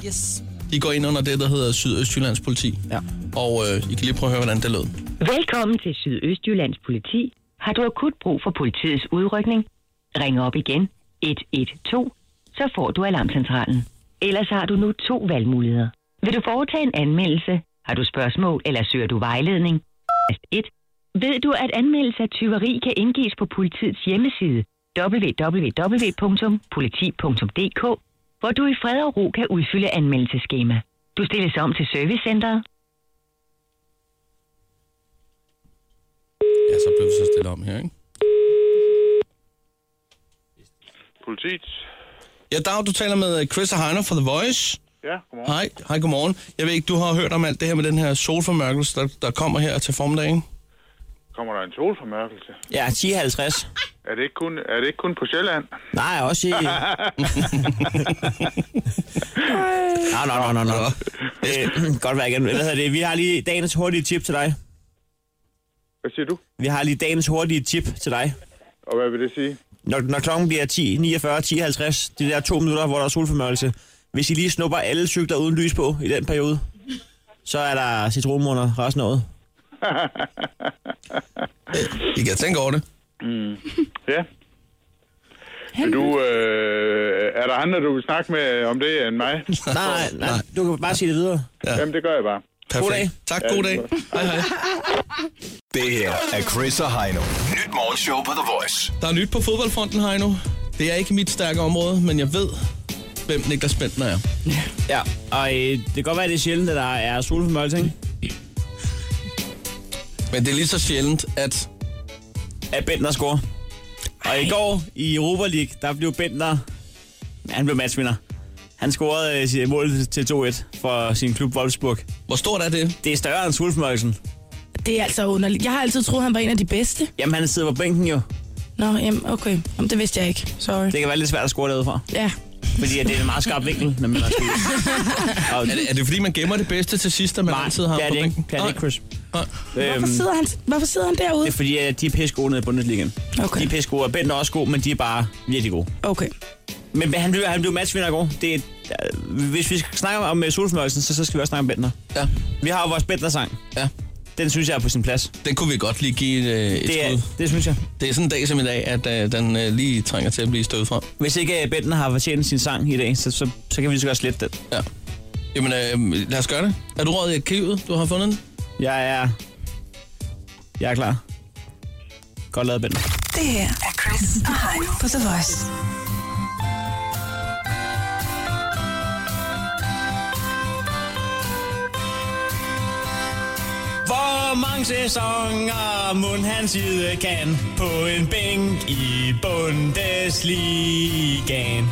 Speaker 14: Yes.
Speaker 4: I går ind under det, der hedder Sydøstjyllands politi.
Speaker 3: Ja.
Speaker 4: Og øh, I kan lige prøve at høre, hvordan det lød.
Speaker 5: Velkommen til Sydøstjyllands politi. Har du akut brug for politiets udrykning? Ring op igen 112, så får du alarmcentralen. Ellers har du nu to valgmuligheder. Vil du foretage en anmeldelse? Har du spørgsmål, eller søger du vejledning? Tast 1. Ved du, at anmeldelse af tyveri kan indgives på politiets hjemmeside www.politi.dk, hvor du i fred og ro kan udfylde anmeldelseskema. Du stilles om til servicecenteret.
Speaker 4: Ja, så blev vi så stille om her, ikke?
Speaker 6: Politiet.
Speaker 4: Ja, Dag, du taler med øh, Chris og Heino fra The Voice.
Speaker 6: Ja, godmorgen.
Speaker 4: Hej, hej, godmorgen. Jeg ved ikke, du har hørt om alt det her med den her solformørkelse, der, der kommer her til formiddagen.
Speaker 6: Kommer der en solformørkelse?
Speaker 3: Ja, 10.50.
Speaker 6: Er det ikke kun, er det ikke kun på Sjælland?
Speaker 3: Nej, også i... Nå, nå, nå, nå, nå. Øh, Godt være igen. Hvad hedder det? Vi har lige dagens hurtige tip til dig.
Speaker 6: Hvad siger du?
Speaker 3: Vi har lige dagens hurtige tip til dig.
Speaker 6: Og hvad vil det sige?
Speaker 3: Når, når klokken bliver 10, 49, 10, 50, de der to minutter, hvor der er solformørkelse, Hvis I lige snupper alle cykler uden lys på i den periode, så er der citronmåner resten af året.
Speaker 4: I kan tænke over det.
Speaker 6: Mm. Ja. Vil du, øh, er der andre, du vil snakke med om det end mig?
Speaker 3: Nej, nej, nej. Du kan bare sige det videre.
Speaker 6: Ja. Jamen, det gør jeg bare.
Speaker 4: Perfekt. God dag. Tak, god dag. Hej, hej.
Speaker 8: Det her er Chris og Heino. Nyt morgenshow på The Voice.
Speaker 4: Der er nyt på fodboldfronten, Heino. Det er ikke mit stærke område, men jeg ved, hvem Niklas Bentner er.
Speaker 3: Ja, og øh, det kan godt være, at det er sjældent, at der er solformørkelse, ikke?
Speaker 4: Men det er lige så sjældent, at...
Speaker 3: At Bentner scorer. Og i går i Europa League, der blev Bentner... Ja, han blev matchvinder. Han scorede øh, sit mål til 2-1 for sin klub Wolfsburg.
Speaker 4: Hvor stort er det?
Speaker 3: Det er større end solformørkelsen.
Speaker 15: Det er altså underligt. Jeg har altid troet, han var en af de bedste.
Speaker 3: Jamen, han sidder på bænken jo.
Speaker 15: Nå, jamen, okay. Jamen, det vidste jeg ikke. Sorry.
Speaker 3: Det kan være lidt svært at score derudefra.
Speaker 15: Ja.
Speaker 3: Fordi at det er en meget skarp vinkel, når man har skudt.
Speaker 4: Er det, er det fordi, man gemmer det bedste til sidst, at man
Speaker 3: Nej,
Speaker 4: altid har ham
Speaker 3: det er
Speaker 4: på
Speaker 3: det ikke.
Speaker 4: bænken?
Speaker 3: Det er det ikke, Chris. Øhm,
Speaker 15: Hvorfor sidder han, hvorfor sidder han derude?
Speaker 3: Det er fordi, at de er pisse gode nede i Bundesligaen.
Speaker 15: Okay.
Speaker 3: De er pisse gode, og Bent er også god, men de er bare virkelig gode.
Speaker 15: Okay.
Speaker 3: Men han blev, han blev matchvinder i går. Det er, hvis vi skal snakke om øh, solformørkelsen, så, så skal vi også snakke om Bentner.
Speaker 4: Ja.
Speaker 3: Vi har jo vores Bentner-sang.
Speaker 4: Ja.
Speaker 3: Den synes jeg er på sin plads.
Speaker 4: Den kunne vi godt lige give øh, et
Speaker 3: Det er-
Speaker 4: skud.
Speaker 3: det synes jeg.
Speaker 4: Det er sådan en dag som i dag, at øh, den øh, lige trænger til at blive støvet fra.
Speaker 3: Hvis ikke øh, Bentner har fortjent sin sang i dag, så, så, så kan vi lige så godt slette den.
Speaker 4: Ja. Jamen, øh, lad os gøre det. Er du råd i arkivet, du har fundet den?
Speaker 3: Jeg er... Jeg er klar. Godt lavet, Bentner.
Speaker 2: Det her er Chris og Heino på The Voice.
Speaker 3: Hvor mange sæsoner mund han side kan på en bænk i Bundesligaen.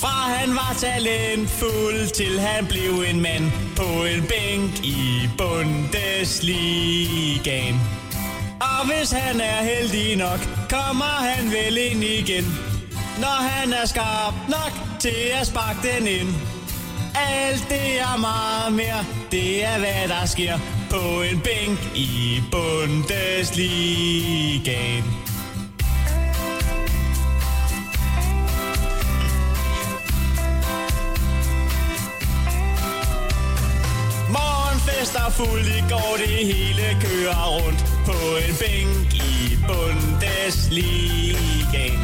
Speaker 3: Fra han var talentfuld til han blev en mand på en bænk i Bundesligaen. Og hvis han er heldig nok, kommer han vel ind igen. Når han er skarp nok til at sparke den ind. Alt det er meget mere, det er hvad der sker på en bænk i Bundesligaen. Morgenfester fuld i går, det hele kører rundt på en bænk i Bundesligaen.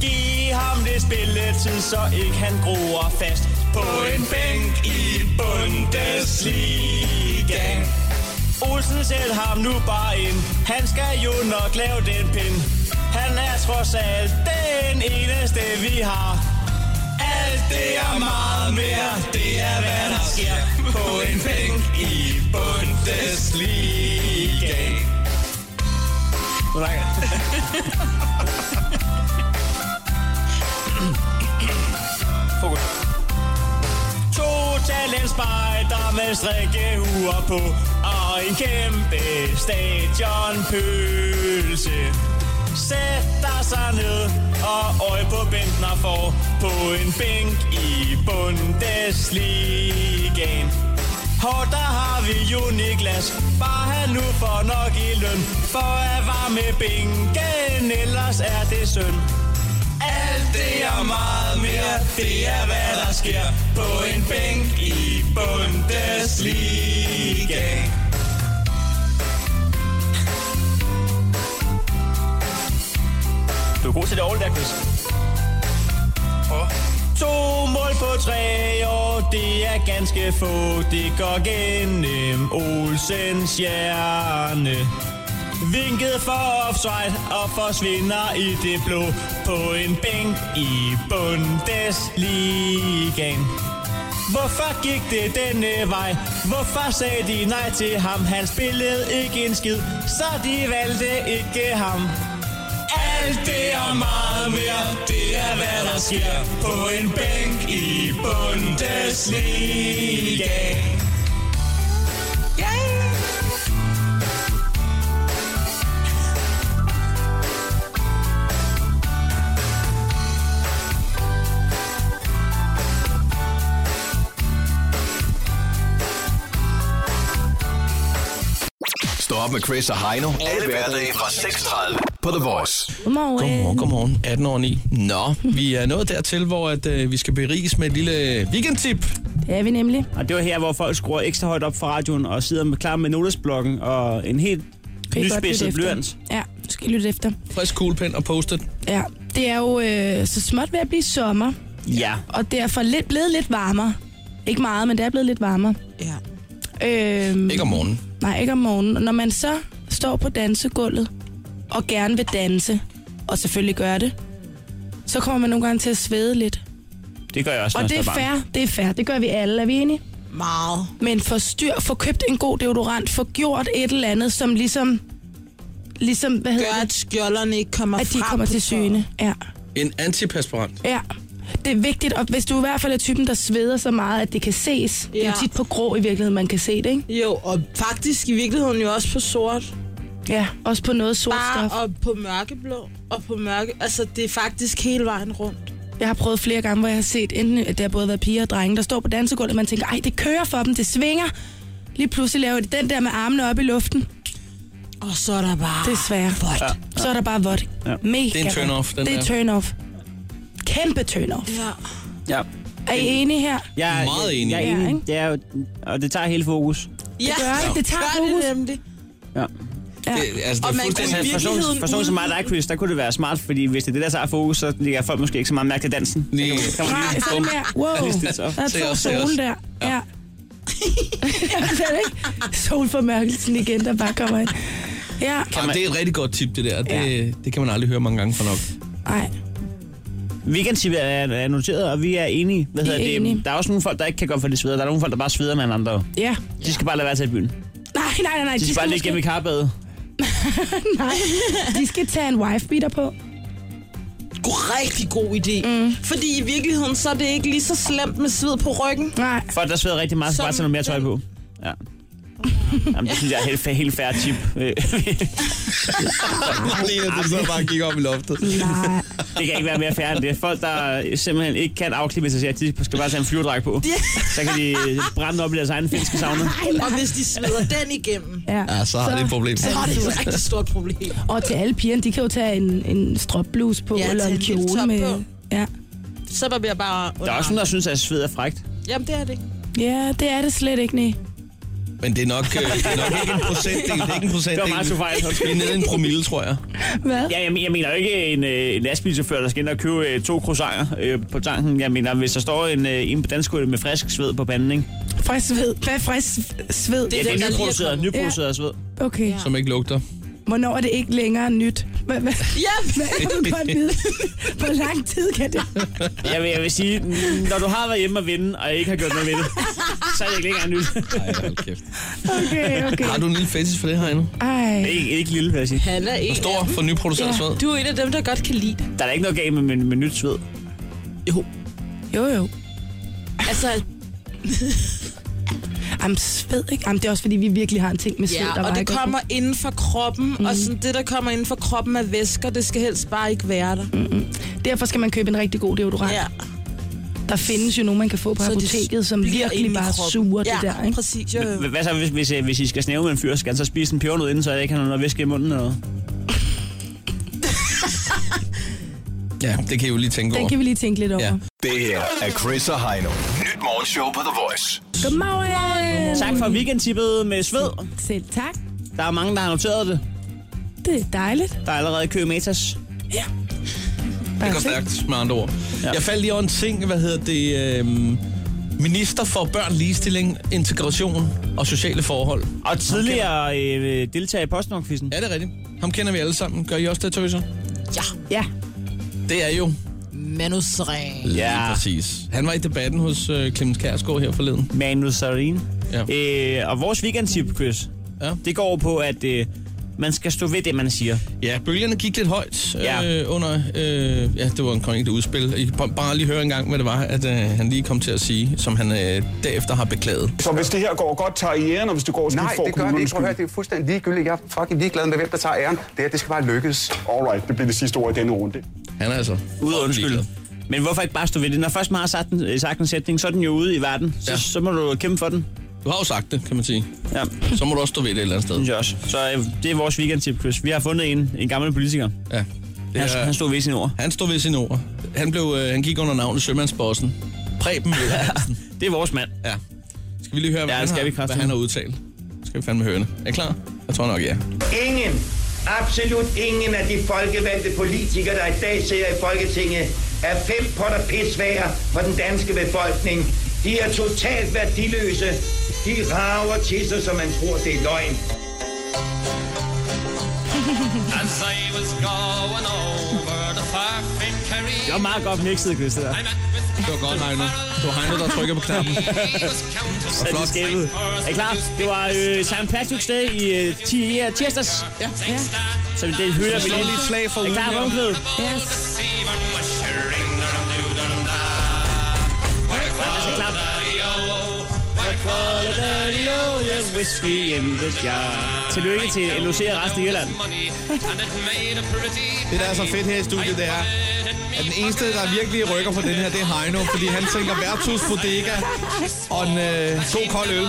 Speaker 3: Giv ham lidt spilletid, så ikke han groer fast på en bænk i Bundesligaen. Olsen sæt ham nu bare ind, han skal jo nok lave den pind. Han er trods alt den eneste, vi har. Alt det er meget mere, det er hvad der sker på en bænk i Bundesligaen. Fokus. To talentspejder med strikkehuer på og en kæmpe stadionpølse. Sætter sig ned og øje på Bentner for på en bænk i Bundesligaen. Hår, der har vi jo Niklas, bare han nu får nok i løn, for at varme bænken, ellers er det synd. Alt det er meget mere, det er hvad der sker på en bænk i Bundesliga. Du er god til det all der, Chris. To mål på tre år, det er ganske få. Det går gennem Olsens hjerne. Vinket for offside og forsvinder i det blå på en bænk i Bundesligaen. Hvorfor gik det denne vej? Hvorfor sagde de nej til ham? Han spillede ikke en skid, så de valgte ikke ham. Alt det er meget mere, det er hvad der sker på en bænk i Bundesligaen.
Speaker 8: Stå op med Chris og Heino. Alle hverdage fra 6.30 på The Voice.
Speaker 15: Godmorgen. Øh,
Speaker 4: Godmorgen, godmorgen. 18 år 9. Nå, vi er nået dertil, hvor at, øh, vi skal beriges med et lille weekendtip.
Speaker 15: Det er vi nemlig.
Speaker 3: Og det var her, hvor folk skruer ekstra højt op for radioen og sidder med klar med notesblokken og en helt
Speaker 15: Kan I godt lytte
Speaker 3: nyspidset
Speaker 15: efter?
Speaker 3: blyant.
Speaker 15: Ja, du skal I lytte efter.
Speaker 4: Frisk kuglepen og post
Speaker 15: Ja, det er jo øh, så småt ved at blive sommer,
Speaker 3: Ja.
Speaker 15: og derfor lidt, blevet lidt varmere. Ikke meget, men det er blevet lidt varmere.
Speaker 14: Ja.
Speaker 15: Øhm,
Speaker 4: Ikke om morgenen.
Speaker 15: Nej, ikke om morgenen. Og Når man så står på dansegulvet og gerne vil danse, og selvfølgelig gør det, så kommer man nogle gange til at svede lidt.
Speaker 3: Det gør jeg også, når
Speaker 15: Og det
Speaker 3: jeg
Speaker 15: er
Speaker 3: står barn.
Speaker 15: fair, det er fair. Det gør vi alle, er vi enige?
Speaker 14: Meget.
Speaker 15: Men få styr, få købt en god deodorant, få gjort et eller andet, som ligesom... ligesom hvad hedder
Speaker 14: Gør,
Speaker 15: det?
Speaker 14: at skjolderne ikke kommer
Speaker 15: At de
Speaker 14: frem
Speaker 15: kommer
Speaker 14: på
Speaker 15: til syne. Ja.
Speaker 4: En antiperspirant.
Speaker 15: ja. Det er vigtigt, og hvis du i hvert fald er typen, der sveder så meget, at det kan ses. Ja. Det er
Speaker 14: Ja.
Speaker 15: jo tit på grå i virkeligheden, man kan se det, ikke?
Speaker 14: Jo, og faktisk i virkeligheden jo også på sort.
Speaker 15: Ja, også på noget sort
Speaker 14: Bare
Speaker 15: stof.
Speaker 14: og på mørkeblå og på mørke. Altså, det er faktisk hele vejen rundt.
Speaker 15: Jeg har prøvet flere gange, hvor jeg har set, enten at der har både været piger og drenge, der står på dansegulvet, og man tænker, ej, det kører for dem, det svinger. Lige pludselig laver de den der med armene op i luften.
Speaker 14: Og så er der bare...
Speaker 15: Desværre. Vådt.
Speaker 3: Ja,
Speaker 15: Ja. Så er der bare vådt.
Speaker 3: Ja.
Speaker 15: Mega
Speaker 4: Det er en turn-off, den
Speaker 15: vådt. Det er
Speaker 4: der.
Speaker 15: turn-off. Kæmpe turn-off.
Speaker 14: Ja.
Speaker 3: Ja.
Speaker 15: Er I enige her?
Speaker 3: Jeg er
Speaker 4: Meget enig.
Speaker 3: Jeg er
Speaker 15: Ja,
Speaker 3: enig.
Speaker 15: ikke?
Speaker 3: Det er jo, og det tager hele fokus.
Speaker 14: Ja,
Speaker 15: gør det. Det tager
Speaker 14: gør
Speaker 15: fokus.
Speaker 14: Det nemlig.
Speaker 3: Ja.
Speaker 15: Ja.
Speaker 4: Det, altså, det
Speaker 14: Og
Speaker 4: er
Speaker 14: man
Speaker 4: fuldstændig...
Speaker 14: kunne
Speaker 3: Altså, for sådan,
Speaker 14: virkeligheden
Speaker 3: for sådan som mig og dig, Chris, der kunne det være smart, fordi hvis det er det, der tager fokus, så ligger folk måske ikke så meget mærke til dansen.
Speaker 4: Lige,
Speaker 15: Nej, så er det mere. Wow.
Speaker 3: det så.
Speaker 15: Der
Speaker 4: Se
Speaker 15: er to
Speaker 4: os, se os.
Speaker 15: sol der. Ja. det er det ikke solformørkelsen igen, der bare kommer ind. Ja,
Speaker 4: Jamen, det er et rigtig godt tip, det der. Det, det kan man aldrig høre mange gange for nok.
Speaker 15: nej.
Speaker 3: Weekendtippet er, er noteret, og vi er enige. Hvad
Speaker 15: Vi er
Speaker 3: hedder det?
Speaker 15: enige.
Speaker 3: Der er også nogle folk, der ikke kan gå for det sveder. Der er nogle folk, der bare sveder med en andre.
Speaker 15: Ja.
Speaker 3: De skal bare lade være til i byen.
Speaker 15: Nej, nej, nej, nej.
Speaker 3: De skal bare ligge
Speaker 15: måske-
Speaker 3: gennem i karbadet.
Speaker 15: Nej, de skal tage en wife-beater på.
Speaker 14: God, rigtig god idé. Mm. Fordi i virkeligheden, så er det ikke lige så slemt med sved på ryggen.
Speaker 15: Nej,
Speaker 3: Folk, der sveder rigtig meget, skal
Speaker 14: Som
Speaker 3: bare tage noget mere tøj på. Ja. Jamen, det synes jeg er helt, helt færre tip. Øh,
Speaker 4: Lige at du så bare gik op i loftet.
Speaker 15: nej.
Speaker 3: det kan ikke være mere færre end det. Folk, der simpelthen ikke kan afklimatisere, de skal bare tage en flyverdrag på. Så kan de brænde op i deres egen finske sauna.
Speaker 14: Og hvis de sveder den igennem,
Speaker 15: Ja.
Speaker 4: Ja, så har det et problem.
Speaker 14: så er det et rigtig stort problem.
Speaker 15: Og til alle pigerne, de kan jo tage en, en strømbluse på,
Speaker 14: Ja,
Speaker 15: ja, eller
Speaker 14: tage
Speaker 15: en
Speaker 14: en lille
Speaker 15: kjole
Speaker 14: top
Speaker 15: med...
Speaker 14: på.
Speaker 15: Ja.
Speaker 14: Så bliver jeg bare...
Speaker 3: Der er også nogen, der synes, at sved er frægt.
Speaker 14: Jamen, det er det ikke.
Speaker 15: ja, det er det slet ikke, nej.
Speaker 4: Men det er nok, øh, det er nok ikke en procentdel. Det er ikke
Speaker 3: Det
Speaker 4: en
Speaker 3: var
Speaker 4: procentdel.
Speaker 3: meget så fejl.
Speaker 4: Vi er nede i en promille, tror jeg.
Speaker 15: Hvad?
Speaker 3: Ja, jeg, men- jeg mener jo ikke en, øh, en lastbilchauffør, der skal ind og købe øh, to croissanter øh, på tanken. Jeg mener, hvis der står en øh, inde på danskgulvet med frisk sved på panden, ikke?
Speaker 15: Frisk sved. Hvad er frisk sved?
Speaker 3: Ja,
Speaker 15: Det.
Speaker 3: det
Speaker 14: den, der lige er
Speaker 3: er nyproduceret,
Speaker 14: kommet.
Speaker 3: nyproduceret sved.
Speaker 15: Okay.
Speaker 14: Ja.
Speaker 15: Ja.
Speaker 4: Som ikke lugter.
Speaker 15: Hvornår er det ikke længere nyt? Hvad, hvad,
Speaker 14: Ja,
Speaker 15: hvad er det godt vide? Hvor lang tid kan det?
Speaker 3: Jeg vil, jeg vil sige, n- når du har været hjemme og vinde, og ikke har gjort noget ved det, så er det ikke længere nyt.
Speaker 4: Ej, hold kæft.
Speaker 15: Okay, okay.
Speaker 4: Har du en lille fetish for det her endnu?
Speaker 15: Ej.
Speaker 3: Ikke, ikke lille, vil jeg sige.
Speaker 14: han er en
Speaker 4: Stor for nyproduceret sved.
Speaker 14: Du er en af dem, der godt kan lide det.
Speaker 3: Der er da ikke noget galt med, med, med nyt sved.
Speaker 15: Jo, jo.
Speaker 14: Altså,
Speaker 15: Jamen, sved, ikke? Jamen, det er også, fordi vi virkelig har en ting med sved, der
Speaker 14: ja, og
Speaker 15: bare
Speaker 14: det
Speaker 15: ikke Mhm. er
Speaker 14: kommer inden for kroppen, mm. og sådan det, der kommer inden for kroppen af væsker, det skal helst bare ikke være der. Mm.
Speaker 15: god. Derfor skal man købe en rigtig god deodorant. Ja.
Speaker 14: Ja.
Speaker 15: Der findes jo nogen, man kan få på
Speaker 14: Så det
Speaker 15: apoteket, som
Speaker 14: bliver
Speaker 15: virkelig
Speaker 14: inde i
Speaker 15: bare
Speaker 14: kroppen.
Speaker 15: suger
Speaker 14: ja,
Speaker 15: det der, ikke?
Speaker 14: præcis. Jo, jo.
Speaker 3: H- Hvad så, hvis, hvis, øh, hvis I skal snæve med en fyr, skal han så spise en pebernød inden, så jeg ikke har noget væske i munden eller noget?
Speaker 4: Ja, det kan I jo lige tænke
Speaker 15: Den
Speaker 4: over.
Speaker 15: kan vi lige tænke lidt over.
Speaker 4: Ja.
Speaker 15: Ja.
Speaker 8: Det her er Chris og Heino. Nyt morgenshow på The Voice.
Speaker 15: Godmorgen!
Speaker 3: Tak for weekendtippet med sved.
Speaker 15: Selv tak.
Speaker 3: Der er mange, der har noteret det.
Speaker 15: Det er dejligt.
Speaker 3: Der er allerede kø i Matas.
Speaker 4: Det går stærkt, med andre ord. Ja. Jeg faldt lige over en ting, hvad hedder det... Øh, minister for børn, ligestilling, integration og sociale forhold.
Speaker 3: Og tidligere øh, deltager i postnordkvisten.
Speaker 4: Er det rigtigt? Ham kender vi alle sammen. Gør I også det, tøser?
Speaker 14: Ja,
Speaker 15: Ja.
Speaker 4: Det er jo
Speaker 14: manusring.
Speaker 3: Ja.
Speaker 4: præcis. Han var i debatten hos øh, Clemens Kærsgaard her forleden.
Speaker 3: Manu Sarin.
Speaker 4: Ja.
Speaker 3: Øh, og vores weekendtip, Chris,
Speaker 4: Ja.
Speaker 3: det går på, at øh, man skal stå ved det, man siger.
Speaker 4: Ja, bølgerne gik lidt højt øh,
Speaker 3: Ja.
Speaker 4: under... Øh, ja, det var en kongelig udspil. I kan b- bare lige høre en gang, hvad det var, at øh, han lige kom til at sige, som han øh, derefter har beklaget.
Speaker 16: Så hvis det her går godt, tager I æren, og hvis det går skidt,
Speaker 17: Nej,
Speaker 16: får
Speaker 17: det gør det
Speaker 16: kommunen
Speaker 17: ikke. Prøv at høre,
Speaker 16: skylden.
Speaker 17: det er fuldstændig ligegyldigt. Jeg er fucking ligeglad med, hvem der tager æren. Det her, det skal bare lykkes.
Speaker 16: Alright, det bliver det sidste ord i denne runde.
Speaker 4: Han er altså...
Speaker 3: Ude undskyld. Men hvorfor ikke bare stå ved det? Når først man har sagt, den, øh, sagt en sætning, så er den jo ude i verden. Så,
Speaker 4: Ja.
Speaker 3: ja. så må du kæmpe for den.
Speaker 4: Du har jo sagt det, kan man sige.
Speaker 3: Ja.
Speaker 4: Så må du også stå ved det et eller andet sted.
Speaker 3: Synes jeg også. Så øh, det er vores weekendtip, Chris. Vi har fundet en, en gammel politiker.
Speaker 4: Ja.
Speaker 3: Han- han
Speaker 4: stod ved sine ord. Han stod ved sine ord. Han, blev, øh, han gik under navnet Sømandsbossen. Preben Møller Hansen. det er vores mand. Ja. Skal vi lige høre, hvad, ja, han,
Speaker 3: skal
Speaker 4: har,
Speaker 3: vi
Speaker 4: hvad
Speaker 3: kraftedeme.
Speaker 4: han har udtalt? Skal vi fandme høre det. Er I klar? Jeg tror nok, ja.
Speaker 18: Ingen, absolut ingen af de folkevalgte politikere, der i dag sidder i Folketinget, er fem potter pisvæger for den danske befolkning. De er totalt værdiløse. De rager til sig, som man tror, det er løgn.
Speaker 19: As I was going over the far famed Kerry,
Speaker 3: Det var meget godt mixet, Chris, det der.
Speaker 4: Det var godt, Heino. Det var Heino, der trykker på knappen.
Speaker 3: Så er de skabet. Er I klar? Det var øh, St. Patrick's Day i øh, ti- ja, tirsdags. Ja. ja. Så det hylder vi
Speaker 4: slår lige et slag for
Speaker 3: Er I
Speaker 4: ugen
Speaker 3: klar,
Speaker 4: her.
Speaker 3: Rundklæde?
Speaker 19: yes. even was sharing the
Speaker 3: Whiskey in the jar. Tillykke til LOC og resten af Irland.
Speaker 4: Det, der er så fedt her i studiet, det er, at den eneste, der virkelig rykker på den her, det er Heino, fordi han tænker værtshus, bodega og en øh, to kold øl.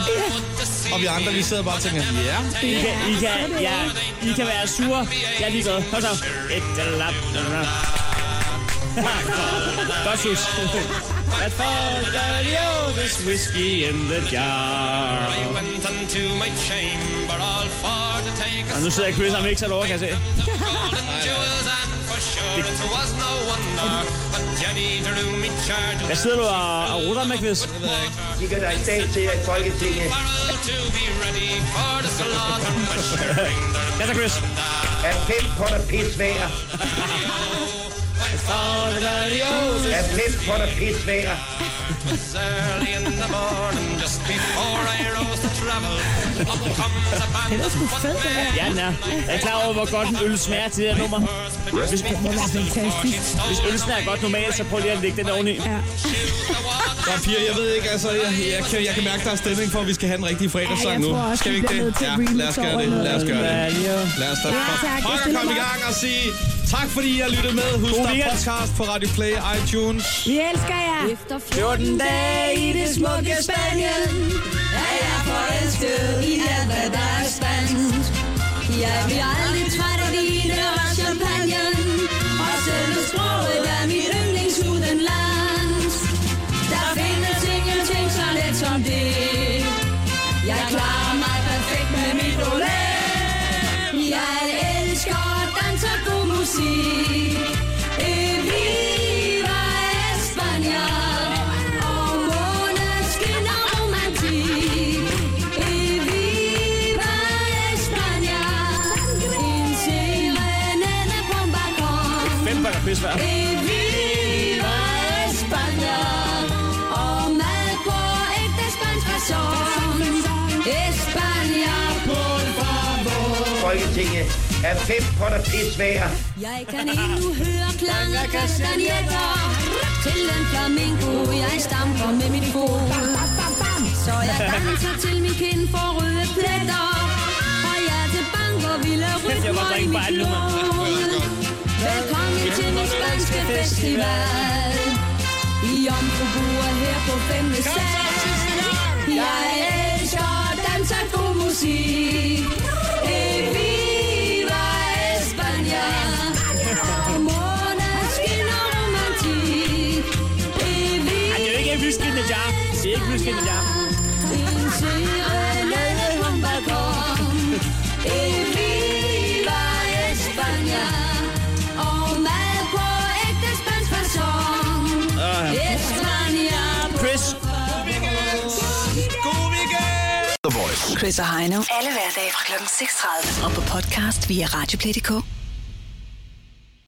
Speaker 4: Og vi andre, vi sidder bare og tænker, ja.
Speaker 3: I kan, I kan, ja, I kan være sure. Jeg er ligeglad. Kom så. Et eller andet. Godt sus. At folk er jo this whiskey in the jar.
Speaker 19: I went unto my chamber all for to take a
Speaker 3: Og nu sidder Chris og mixer over, kan jeg se.
Speaker 19: golden jewels and for sure it was no wonder. But Jenny drew me charge
Speaker 3: Hvad sidder du og, og rutter med, Chris?
Speaker 18: De kan der i dag sidder i Folketinget.
Speaker 19: to be ready for the slaughter. Was sharing the
Speaker 3: Ja, så Chris.
Speaker 18: Er fem potter pisvæger. Er fem potter pisvæger.
Speaker 19: was early in the morning just before I rose to travel. Up comes a band.
Speaker 3: Den er sgu fed, den her. Ja, den er. Er I klar over, hvor godt en øl smager til det her nummer? Hvis, hvis øl smager godt normalt, så prøv lige at lægge den oveni. Ja.
Speaker 4: Ja, piger, jeg ved ikke, altså, jeg, jeg, kan, jeg kan mærke, der er stemning for, at vi skal have den rigtige fredagssang nu. skal vi ikke det? Ja, lad os gøre det. Lad os gøre det. Lad os da
Speaker 19: Ja, tak. Jeg
Speaker 4: pokker
Speaker 19: stiller
Speaker 4: komme
Speaker 19: mig.
Speaker 4: i gang og sige tak, fordi I har lyttet med. Husk,
Speaker 19: God
Speaker 4: der er
Speaker 19: weekend.
Speaker 4: podcast på Radio Play, iTunes.
Speaker 15: Vi elsker jer.
Speaker 9: Efter
Speaker 15: 14 dage i det smukke Spanien,
Speaker 9: er jeg forelsket i alt, hvad der er spansk. Jeg bliver aldrig træt af vine og champagne, og selve sproget er mit yndlings udenlands. Der findes ingenting så let som det. Jeg klarer mig perfekt med mit olé. Jeg elsker at danse og god musik. Viva España. Og månen skinner romantik. Viva España. En serenade på en balkon.
Speaker 3: Fem bakker pis hver.
Speaker 9: Viva España. Og mad på ægte spansk facon. España, por favor.
Speaker 18: Folketinget er fem potter pisvæger.
Speaker 9: Jeg kan endnu høre klang af kastanjetter Til den flamingo, jeg stamper med mit fod Så jeg danser til min kind for røde pletter Og jeg er til banker ville
Speaker 19: Kæft, jeg var
Speaker 9: rytmer i
Speaker 19: dreng på
Speaker 9: mit
Speaker 19: alle, mand.
Speaker 9: blod Velkommen til den spanske festival I omforbruger her på 5. sal Jeg elsker dans og god musik Eh, Viva España Og månen skinner romantik Eh,
Speaker 3: Ej, det er jo ikke
Speaker 9: Viva
Speaker 3: whisky in the jar. Det er ikke whisky in the jar.
Speaker 9: en serenade på en balkon. En viva España. Og mad på ægte spansk facon. España.
Speaker 3: Chris.
Speaker 4: God weekend!
Speaker 8: The Voice.
Speaker 2: Chris og Heino. Alle hverdage fra kl. 6.30. Og på podcast via Radioplay.dk.